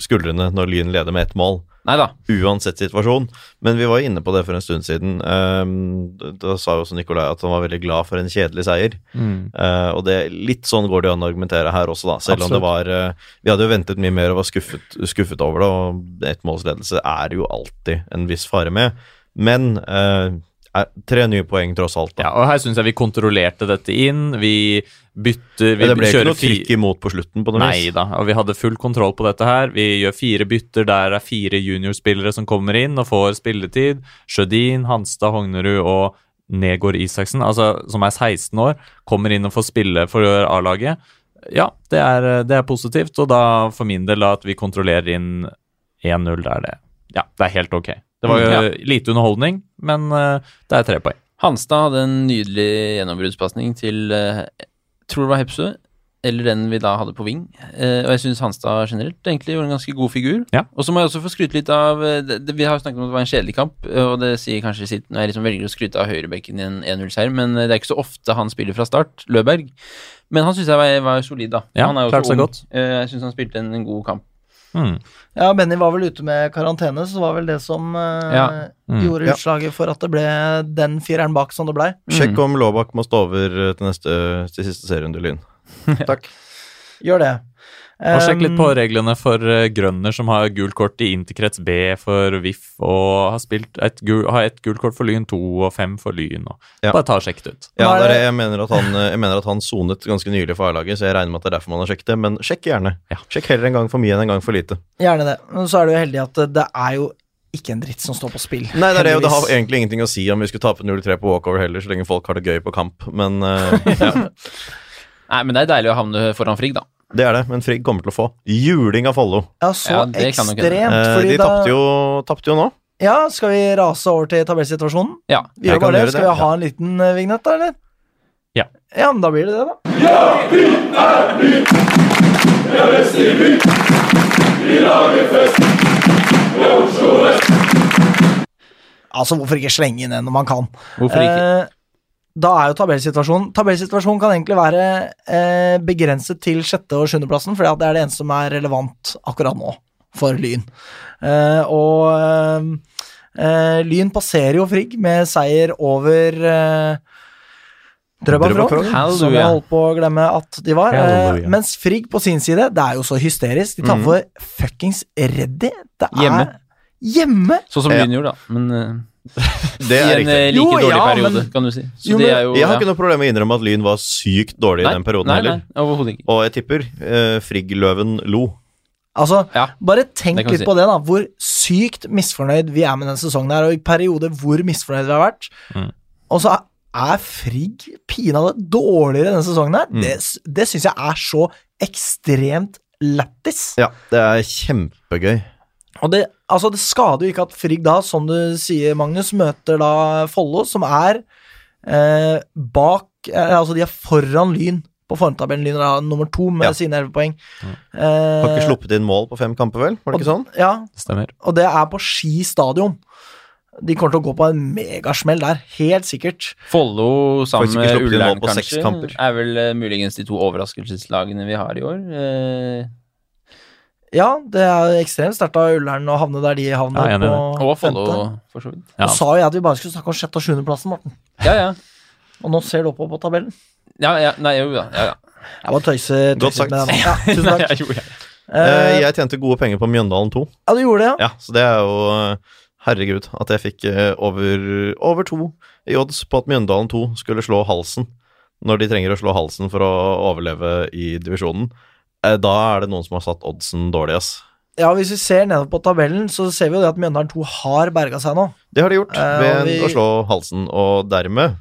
S3: skuldrene når Lyn leder med ett mål,
S4: Nei da.
S3: uansett situasjon. Men vi var jo inne på det for en stund siden. Um, da- da sa jo også Nikolai at han var veldig glad for en kjedelig seier.
S2: Mm.
S3: Eh, og det, litt sånn går det an å argumentere her også, da. Selv om det var eh, Vi hadde jo ventet mye mer og var skuffet, skuffet over det, og ettmålsledelse er det jo alltid en viss fare med. Men eh, er, tre nye poeng tross alt,
S2: Ja,
S3: da.
S2: og her syns jeg vi kontrollerte dette inn. Vi bytter vi
S3: Men det ble ikke
S2: kjører
S3: noe
S2: fi-
S3: trykk imot på slutten, på noe
S2: Nei
S3: vis.
S2: da, og vi hadde full kontroll på dette her. Vi gjør fire bytter, der er fire juniorspillere som kommer inn og får spilletid. Sjødin, Hanstad, Hognerud og Negård Isaksen, altså, som er 16 år, kommer inn og får spille for A-laget. Ja, det er, det er positivt, og da for min del da, at vi kontrollerer inn 1-0, det er det. Ja, det er helt ok. Det var
S3: Mm,
S2: jo
S4: Ja.
S2: lite underholdning, men eh, det er tre poeng.
S4: Hanstad hadde en nydelig gjennombruddspasning til eh, jeg tror det var Hepsø, eller den vi da hadde på Ving. Eh, og jeg syns Hanstad generelt egentlig gjorde en ganske god figur.
S2: Ja.
S4: Og så må jeg også få skryte litt av eh, det, det, Vi har jo snakket om at det var en kjedelig kamp, eh, og det sier kanskje sitt når jeg liksom velger å skryte av høyrebekken i en 1-0-seier, men eh, det er ikke så ofte han spiller fra start, Løberg. Men han syns jeg var, var solid, da.
S2: Ja,
S4: han er jo
S2: klarte
S4: så
S2: seg
S4: ung.
S2: godt.
S4: Eh, jeg syns han spilte en, en god kamp.
S2: Hmm.
S1: Ja, Benny var vel ute med karantene, så det var vel det som eh,
S4: Ja.
S2: Mm.
S1: gjorde
S3: Ja.
S1: utslaget for at det ble den fireren bak som det blei.
S3: Sjekk om Laabak må stå over eh, til, neste, til siste serierunde, Lyn.
S1: Gjør det.
S2: Og sjekk litt
S1: Um,
S2: på reglene for eh, grønner som har gult kort i interkrets B for VIF, og har, spilt et gul, har ett gult kort for Lyn, to og fem for Lyn. Og.
S3: Ja.
S2: Bare ta og sjekk det ut.
S1: Nå
S3: Ja,
S1: er
S3: det er,
S1: det-
S3: jeg, mener at han, eh, jeg mener at han sonet ganske nylig for A-laget, så jeg regner med at det er derfor man har sjekket det, men sjekk gjerne.
S2: Ja.
S3: Sjekk heller en gang for mye enn en gang for lite.
S1: Gjerne det. Men så er du jo heldig at det er jo ikke en dritt som står på spill.
S3: Nei, det, er det, og det har
S1: heldigvis.
S3: egentlig ingenting å si om vi skulle tape 0-3 på walkover heller, så lenge folk har det gøy på kamp. Men eh, ja,
S4: Nei, men det er deilig å havne foran Frigg, da.
S3: det er det. Men Frigg kommer til å få juling av Follo.
S1: Ja, så
S4: Ja, det kan nok hende.
S1: ekstremt.
S3: Eh,
S1: fordi
S3: de
S1: da-
S3: tapte jo, tapte jo nå.
S1: Ja, skal vi rase over til tabellsituasjonen?
S4: Ja.
S1: Vi
S3: Jeg
S1: gjør
S3: kan
S1: bare
S3: gjøre
S1: det. Skal
S3: det.
S1: vi ha en liten eh, vignett, da, eller?
S2: Ja.
S1: Ja, men da blir det det, da. Altså, hvorfor ikke slenge inn en når man kan?
S4: Hvorfor ikke?
S1: Eh, da er jo tabellsituasjonen Tabellsituasjonen kan egentlig være eh, begrenset til sjette- og sjuendeplassen, for det er det eneste som er relevant akkurat nå for Lyn. Eh, og eh, eh, Lyn passerer jo Frigg med seier over eh, Drøbak
S3: Drøbak
S1: Frogn,
S4: Frogn.
S1: som jeg
S4: Halleluja.
S1: holdt på å glemme at de var. Eh,
S2: Halleluja.
S1: mens Frigg på sin side, det er jo så hysterisk. De tar for fuckings Reddy. Det er
S4: Hjemme.
S1: Hjemme!
S4: Sånn som
S3: Ja.
S4: Lyn gjorde, da. Men eh,
S3: Det
S4: i
S3: er
S4: en eh,
S3: riktig.
S1: Jo,
S4: like dårlig
S1: ja,
S4: periode,
S1: men-
S4: kan du si. Så
S1: Jo,
S4: det
S1: men-
S4: er jo
S3: Jeg har
S4: ja.
S3: ikke noe problem med å innrømme at Lyn var sykt dårlig i den perioden
S4: nei,
S3: heller.
S4: Nei, overhodet ikke.
S3: Og jeg tipper eh, Frigg-løven lo.
S1: Altså,
S4: Ja.
S1: Bare tenk
S4: Det kan vi
S1: litt
S4: si.
S1: på det, da. Hvor sykt misfornøyd vi er med den sesongen her, og i perioder hvor misfornøyd vi har vært.
S2: Mm.
S1: Og så er- er Frigg pinadø dårligere denne sesongen her. Det, s- det syns jeg er så ekstremt lættis.
S3: Ja, det er kjempegøy.
S1: Og det, altså, det skader jo ikke at Frigg da, som du sier, Magnus, møter da Follo, som er eh, bak eh, Altså, de er foran Lyn på formtabellen. Lyn er da nummer to med
S3: Ja.
S1: sine elleve poeng.
S3: Har ikke
S1: Eh,
S3: sluppet inn mål på fem kamper, vel? Var det ikke sånn?
S1: ja,
S2: Det stemmer.
S1: og det er på Ski stadion. De kommer til å gå på en megasmell der, helt sikkert.
S4: Follo sammen
S3: Får ikke
S4: med
S3: sluppet inn mål
S4: Ullern,
S3: på seks
S4: kanskje,
S3: kamper.
S4: er vel eh, muligens de to overraskelseslagene vi har i år. Eh,
S1: Ja, det er ekstremt sterkt av Ullern å havne der de havner.
S2: Ja, jeg er enig i
S1: på
S4: og Follo,
S1: femte.
S4: for så vidt.
S2: Ja.
S1: Nå sa jo jeg at vi bare skulle snakke om sjette- og sjuendeplassen, Morten.
S4: Ja, ja.
S1: Og nå ser du oppover på tabellen.
S4: ja, ja nei, jo da. Ja, ja.
S1: Jeg bare tøyser,
S3: Godt
S1: tøyser
S3: sagt.
S1: med den. Ja, tusen
S4: Nei,
S1: takk.
S4: jeg gjorde det.
S1: Eh,
S3: Eh, Jeg tjente gode penger på Mjøndalen 2.
S1: ja, du gjorde det, ja.
S3: Ja, så det er jo eh, Herregud, at jeg fikk eh, over, over to i odds på at Mjøndalen 2 skulle slå halsen når de trenger å slå halsen for å overleve i divisjonen. Eh, Da er det noen som har satt oddsen dårlig, ass.
S1: Ja, Hvis vi ser nedover på tabellen, så ser vi jo det at Mjøndalen 2 har berga seg nå.
S3: Det har de gjort
S1: Eh, og
S3: ved
S1: vi-
S3: å slå halsen, og dermed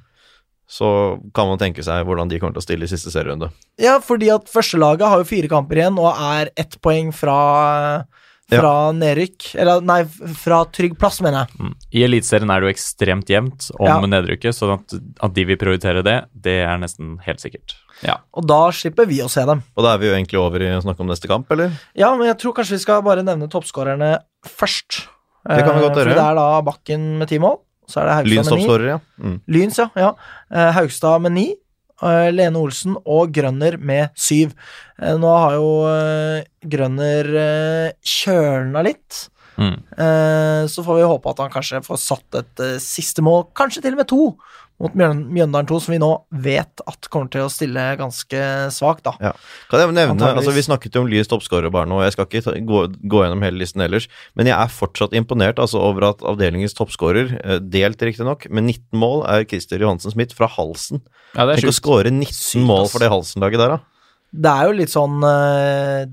S3: så kan man tenke seg hvordan de kommer til å stille i siste serierunde.
S1: Ja, fordi at førstelaget har jo fire kamper igjen og er ett poeng fra, fra nedrykk. Eller nei, fra trygg plass, mener jeg.
S2: Mm. I Eliteserien er det jo ekstremt jevnt om
S1: Ja.
S2: nedrykket, så at, at de vil prioritere det, det er nesten helt sikkert.
S1: Og da slipper vi å se dem.
S3: Og da er vi jo egentlig over i å snakke om neste kamp, eller?
S1: Ja, men jeg tror kanskje vi skal bare nevne toppskårerne først.
S3: Det kan vi godt
S1: Eh, For
S3: gjøre.
S1: det er da Bakken med ti mål. Så er det
S3: Lyns
S1: Haugstad med ni.
S3: toppskårer, ja. Mm.
S1: Lyns, ja. ja. Eh, Haugstad med ni. eh, Lene Olsen og Grønner med syv. Eh, Nå har jo eh, Grønner eh, kjølna litt.
S2: Mm.
S1: Eh, Så får vi håpe at han kanskje får satt et eh, siste mål, kanskje til og med to, mot Mjøn- Mjøndalen 2, som vi nå vet at kommer til å stille ganske svakt, da.
S3: Kan jeg nevne,
S1: Antageligvis.
S3: altså Vi snakket jo om Lyns toppskårer bare nå, og jeg skal ikke ta, gå, gå gjennom hele listen ellers, men jeg er fortsatt imponert altså, over at avdelingens toppskårer, eh, delt riktignok, med 19 mål, er Christer Johansen Smith fra Halsen.
S4: Ja, det er
S3: Tenk å
S4: sjukt.
S3: skåre 19 mål for det Halsen-laget der, da.
S1: Det er jo litt sånn eh,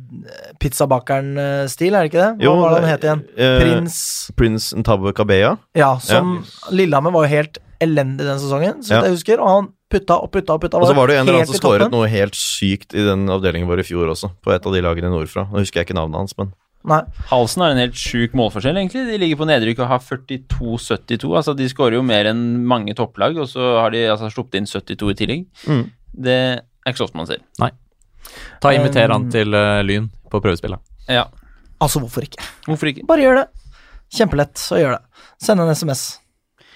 S1: pizzabakeren-stil, er det ikke det? Hva var det han het igjen?
S3: eh,
S1: Prins
S3: Prins Ntabwe Kabeya.
S1: Ja, som Lillehammer var jo helt elendig den sesongen, så vidt
S3: Ja.
S1: jeg husker, og han putta og putta og putta.
S3: Og så var det jo en eller annen
S1: helt
S3: som
S1: i toppen.
S3: skåret noe helt sykt i den avdelingen vår i fjor også, på et av de lagene nordfra. Nå husker jeg ikke navnet hans, men
S1: Nei.
S4: Halsen har en helt sjuk målforskjell, egentlig. De ligger på nedrykk og har 42-72. Altså, de skårer jo mer enn mange topplag, og så har de altså, sluppet inn 72 i tillegg.
S3: Mm.
S4: Det er ikke så ofte man ser.
S2: Ta
S1: Um,
S2: Inviter han til eh, Lyn på prøvespillet.
S4: Ja,
S1: Altså, hvorfor ikke?
S4: hvorfor ikke?
S1: Bare gjør det. Kjempelett å gjøre det. Send en SMS.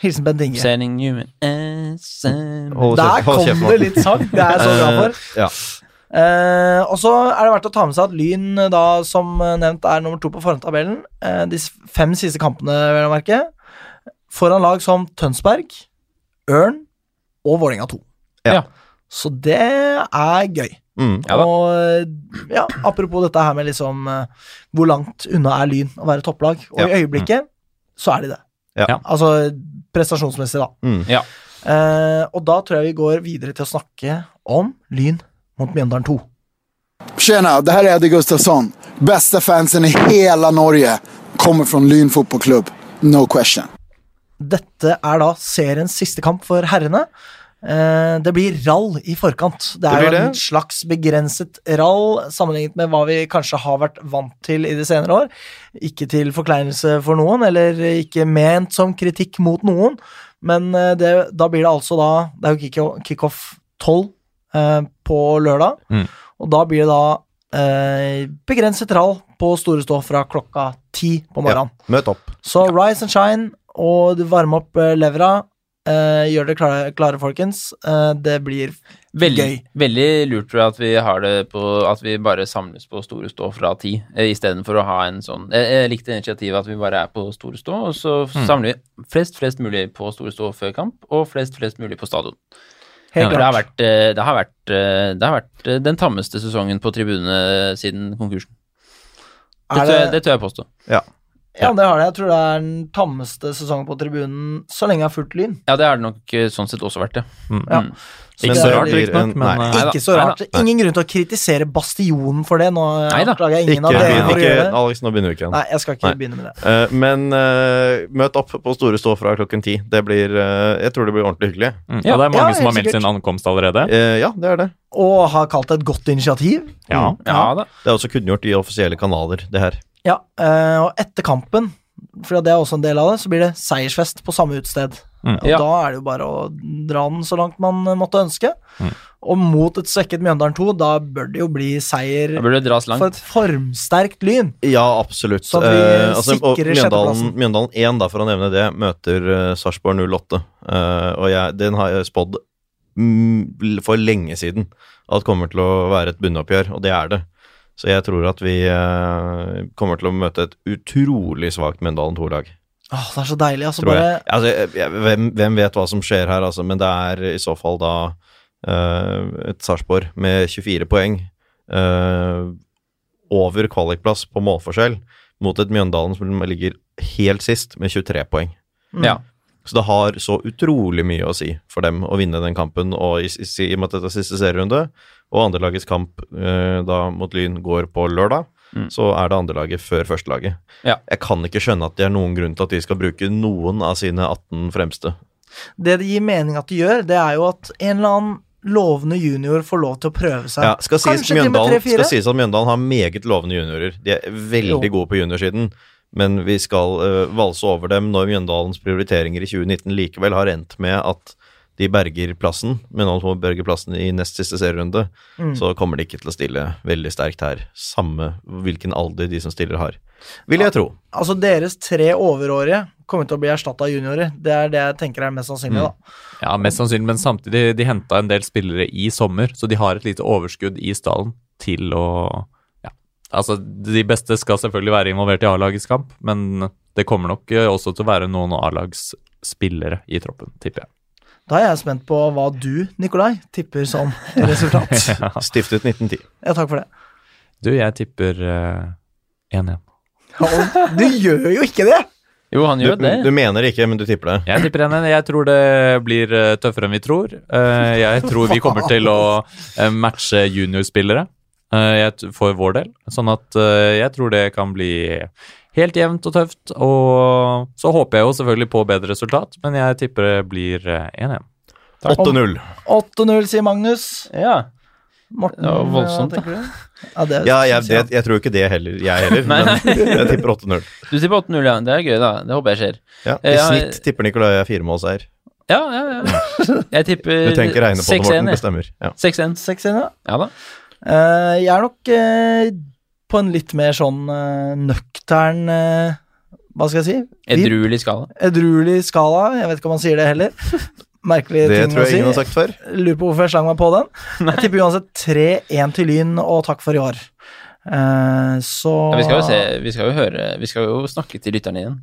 S1: Hilsen Bent Inge.
S4: Sending you an SM.
S3: hold
S1: Der
S3: kjeft- hold
S1: kom
S3: kjeft,
S1: det
S3: Morten.
S1: litt sang, det er jeg så glad for.
S3: Eh, ja.
S1: Eh, og så er det verdt å ta med seg at Lyn, eh, da, som eh, nevnt, er nummer to på forhåndstabellen. Eh, de s- fem siste kampene, vil jeg merke. Foran lag som Tønsberg, Ørn og Vålerenga 2.
S3: Ja.
S4: Ja.
S1: Så det er gøy.
S3: Mm.
S4: Ja da.
S1: og eh, ja, apropos dette her med liksom eh, Hvor langt unna er Lyn å være topplag? Og
S3: Ja.
S1: i øyeblikket så er de det.
S3: Ja.
S2: Ja.
S1: Altså prestasjonsmessig, da.
S3: Mm.
S1: Eh, og da tror jeg vi går videre til å snakke om Lyn mot Mjøndalen 2.
S8: Tjena, det här är Eddie Gustafsson. Bästa fansen i hela Norge. Kommer från Lyn fotbollklubb. No question.
S1: Dette er da seriens siste kamp for herrene. Eh, det blir rall i forkant. Det er
S3: Det
S1: jo
S3: blir
S1: en
S3: det.
S1: slags begrenset rall sammenlignet med hva vi kanskje har vært vant til i de senere år. Ikke til forkleinelse for noen, eller ikke ment som kritikk mot noen, men eh, det, da blir det altså da Det er jo kicko- kickoff 12 eh, på lørdag,
S2: Mm.
S1: og da blir det da eh, begrenset rall på Store Stå fra klokka ti på
S3: Ja.
S1: morgenen.
S3: Møt opp.
S1: Så rise and shine, og du varmer opp eh, levra. Eh, gjør dere klare, klare folkens. Eh, det blir
S4: Veldig,
S1: Gøy.
S4: veldig lurt tror jeg at vi har det på At vi bare samles på Store Stå fra ti, eh, istedenfor å ha en sånn Jeg, jeg likte initiativet at vi bare er på Store Stå, og så
S1: Mm.
S4: samler vi flest flest mulig på Store Stå før kamp, og flest flest mulig på stadion.
S1: helt
S4: For det har
S1: klart.
S4: vært, eh, det har vært, eh, det har vært eh, den tammeste sesongen på tribunene siden konkursen. Det
S1: Er
S4: tør, jeg-
S1: det,
S4: det tør jeg påstå.
S1: ja, det har det. Jeg tror det er den tammeste sesongen på tribunen så lenge jeg har fulgt Lyn.
S4: Ja, det har det nok eh, sånn sett også vært, ja.
S2: Mm.
S1: Ja.
S4: Mm.
S1: Så
S2: Ikke
S1: det
S2: så
S1: er
S2: rart,
S1: veldig-
S3: blir en-
S2: riktignok, men
S3: nei.
S2: eh,
S1: Ikke så
S4: Neida.
S1: rart. Ingen grunn til å kritisere Bastionen for det. Nå
S4: Nei da.
S1: anklager jeg
S3: Ikke,
S1: ingen av dere for å
S3: ikke,
S1: gjøre det.
S3: Alex, nå begynner vi ikke igjen.
S1: Nei, jeg skal ikke
S3: Nei.
S1: begynne med det.
S3: Eh, men eh, møt opp på Store Stå fra klokken ti. Det blir eh, Jeg tror det blir ordentlig hyggelig.
S2: mm. Ja, det er
S1: Ja,
S2: mange som har
S1: helt
S2: meldt sin ankomst allerede.
S3: Eh, ja, det er det.
S1: Og har kalt det et godt initiativ.
S2: Ja.
S4: Ja da.
S3: Det er også kunngjort i offisielle kanaler, det her.
S1: Ja, eh, og etter kampen, for det er også en del av det, så blir det seiersfest på samme utsted.
S2: Mm.
S1: Og
S4: Ja.
S1: da er det jo bare å dra den så langt man eh, måtte ønske.
S3: Mm.
S1: Og mot et svekket Mjøndalen 2, da bør det jo bli seier
S4: Da burde det dras
S1: for
S4: langt.
S1: et formsterkt Lyn.
S3: Ja, absolutt.
S1: Så at vi
S3: Eh, altså, og
S1: sikrer
S3: Mjøndalen,
S1: sjetteplassen.
S3: Mjøndalen 1, da, for å nevne det, møter eh, Sarpsborg 08. Eh, og jeg, den har jeg spådd mm, for lenge siden at kommer til å være et bunnoppgjør, og det er det. Så jeg tror at vi eh, kommer til å møte et utrolig svakt Mjøndalen 2-lag,
S1: Åh, det er så deilig. Altså,
S3: tror
S1: bare,
S3: jeg. Altså, jeg- jeg hvem, hvem vet hva som skjer her, altså, men det er i så fall da eh, et Sarpsborg med 24 poeng eh, over kvalikplass på målforskjell mot et Mjøndalen som ligger helt sist med 23 poeng.
S1: Mm.
S4: Ja.
S3: Så det har så utrolig mye å si for dem å vinne den kampen, og i, i, i og med at dette er siste serierunde, og andrelagets kamp eh, da mot Lyn går på lørdag,
S4: Mm.
S3: så er det andrelaget før førstelaget.
S4: Ja.
S3: Jeg kan ikke skjønne at det er noen grunn til at de skal bruke noen av sine 18 fremste.
S1: Det det gir mening at de gjør, det er jo at en eller annen lovende junior får lov til å prøve seg.
S3: Ja, skal, sies
S1: Kanskje til og med
S3: Mjøndalen, skal
S1: tre-fire.
S3: sies at Mjøndalen har meget lovende juniorer. De er veldig
S1: Jo.
S3: gode på juniorsiden, men vi skal eh, valse over dem når Mjøndalens prioriteringer i 2019 likevel har endt med at de berger plassen, men nå må berge plassen i nest siste serierunde,
S1: Mm.
S3: så kommer de ikke til å stille veldig sterkt her. Samme hvilken alder de som stiller har, vil jeg tro.
S1: Altså, deres tre overårige kommer til å bli erstatta av juniorer. Det er det jeg tenker er mest
S3: Mm.
S1: sannsynlig, da.
S2: Ja, mest sannsynlig, men samtidig de henta en del spillere i sommer, så de har et lite overskudd i stallen til å Ja, altså de beste skal selvfølgelig være involvert i A-lagets kamp, men det kommer nok eh, også til å være noen A-lagsspillere i troppen, tipper jeg.
S1: Da er jeg spent på hva du, Nikolai, tipper som resultat. ja,
S3: Stiftet 1910.
S1: takk for det.
S2: Du, jeg tipper eh, 1-1.
S1: Ja, og Du gjør jo ikke det!
S4: Jo, han
S3: Du,
S4: gjør det.
S3: du mener det ikke, men du tipper det.
S2: Jeg tipper 1-1. Jeg tror det blir eh, tøffere enn vi tror. Eh, Jeg tror vi kommer til å eh, matche juniorspillere eh, jeg t- for vår del. Sånn at eh, jeg tror det kan bli helt jevnt og tøft. Og så håper jeg jo selvfølgelig på bedre resultat, men jeg tipper det blir eh, 1-1.
S3: 8-0.
S1: 8-0, sier Magnus.
S4: Ja.
S1: Morten,
S4: Det var voldsomt,
S1: hva tenker du? Ja, det
S3: Ja, jeg,
S1: synes
S3: det, jeg tror ikke det heller, jeg heller, men jeg tipper 8-0.
S4: Du tipper 8-0, ja. Det er gøy, da. Det håper jeg skjer.
S3: Ja,
S4: Ja,
S3: I
S4: jeg-
S3: snitt tipper Nicolai er firemålseier.
S4: Ja, ja, ja. Jeg tipper
S3: Du trenger ikke regne på det,
S4: 6-1,
S3: Morten.
S4: jeg.
S3: Bestemmer. Ja.
S4: 6-1.
S1: Seks inn, ja.
S4: Ja da.
S1: Eh, jeg er nok eh, på en litt mer sånn eh, nøktern eh, Hva skal jeg si? Vi-
S4: Edruelig skala.
S1: Edruelig skala. Jeg vet ikke om man sier det heller. Merkelig
S3: Det
S1: ting
S3: tror jeg
S1: å
S3: ingen har
S1: si.
S3: sagt før.
S1: Lurer på hvorfor jeg slang meg på den. Jeg tipper uansett 3-1 til Lyn, og takk for i år. Eh, så
S4: Ja, vi skal jo se, vi skal jo høre Vi skal jo snakke til lytterne igjen.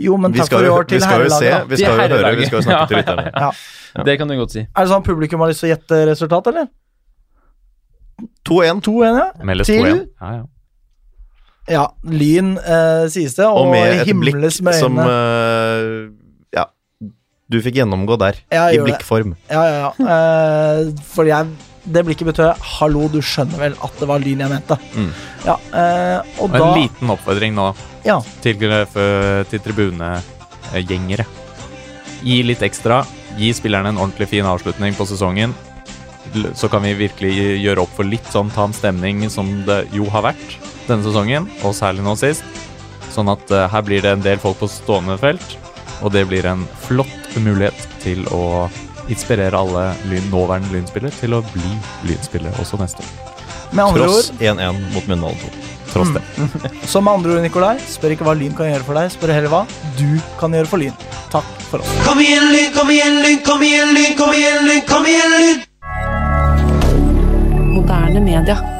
S1: Jo, men
S3: Vi
S1: takk
S3: skal,
S1: for i
S3: jo,
S1: år
S3: vi
S1: til
S3: skal jo se,
S1: herrelaget. da.
S3: vi skal jo
S4: Til
S3: høre, vi skal jo snakke til
S4: herrelaget.
S3: lytterne.
S1: Ja.
S4: Det kan du godt si.
S1: Er det sånn at publikum har lyst til å gjette resultat, eller?
S3: 2-1
S1: 2-1, ja.
S2: Meldes
S1: Til-
S2: 2-1. Ja, ja.
S1: Ja, Lyn eh, sies det,
S3: og
S1: og,
S3: med et blikk
S1: himles med
S3: som
S1: øynene.
S3: eh, Ja, du fikk gjennomgå der,
S1: Ja, gjør
S3: i
S1: det.
S3: blikkform.
S1: Ja, ja, ja. Eh, for jeg, det blikket betød 'hallo, du skjønner vel at det var lyn jeg mente'.
S3: Mm.
S1: Ja, eh, og
S2: Og en
S1: da
S2: liten oppfordring nå
S1: Ja.
S2: til, eh, til tribunegjengere. Gi litt ekstra. Gi spillerne en ordentlig fin avslutning på sesongen. L- Så kan vi virkelig gjøre opp for litt sånn tam stemning som det jo har vært denne sesongen, og særlig nå sist. Sånn at eh, her blir det en del folk på stående felt, og det blir en flott mulighet til å inspirere alle lyn, nåværende lynspillere til å bli lynspillere også neste år.
S1: Med andre
S3: Tross
S1: ord, Mm.
S3: 1-1 mot Mjøndalen 2.
S2: Tross det.
S1: så med andre ord, Nikolai, spør ikke hva lyn kan gjøre for deg, spør heller hva du kan gjøre for lyn. Takk for oss.
S7: Kom igjen, Lyn, kom igjen, Lyn, kom igjen, Lyn, kom igjen, Lyn, kom igjen, Lyn!
S9: Moderne media.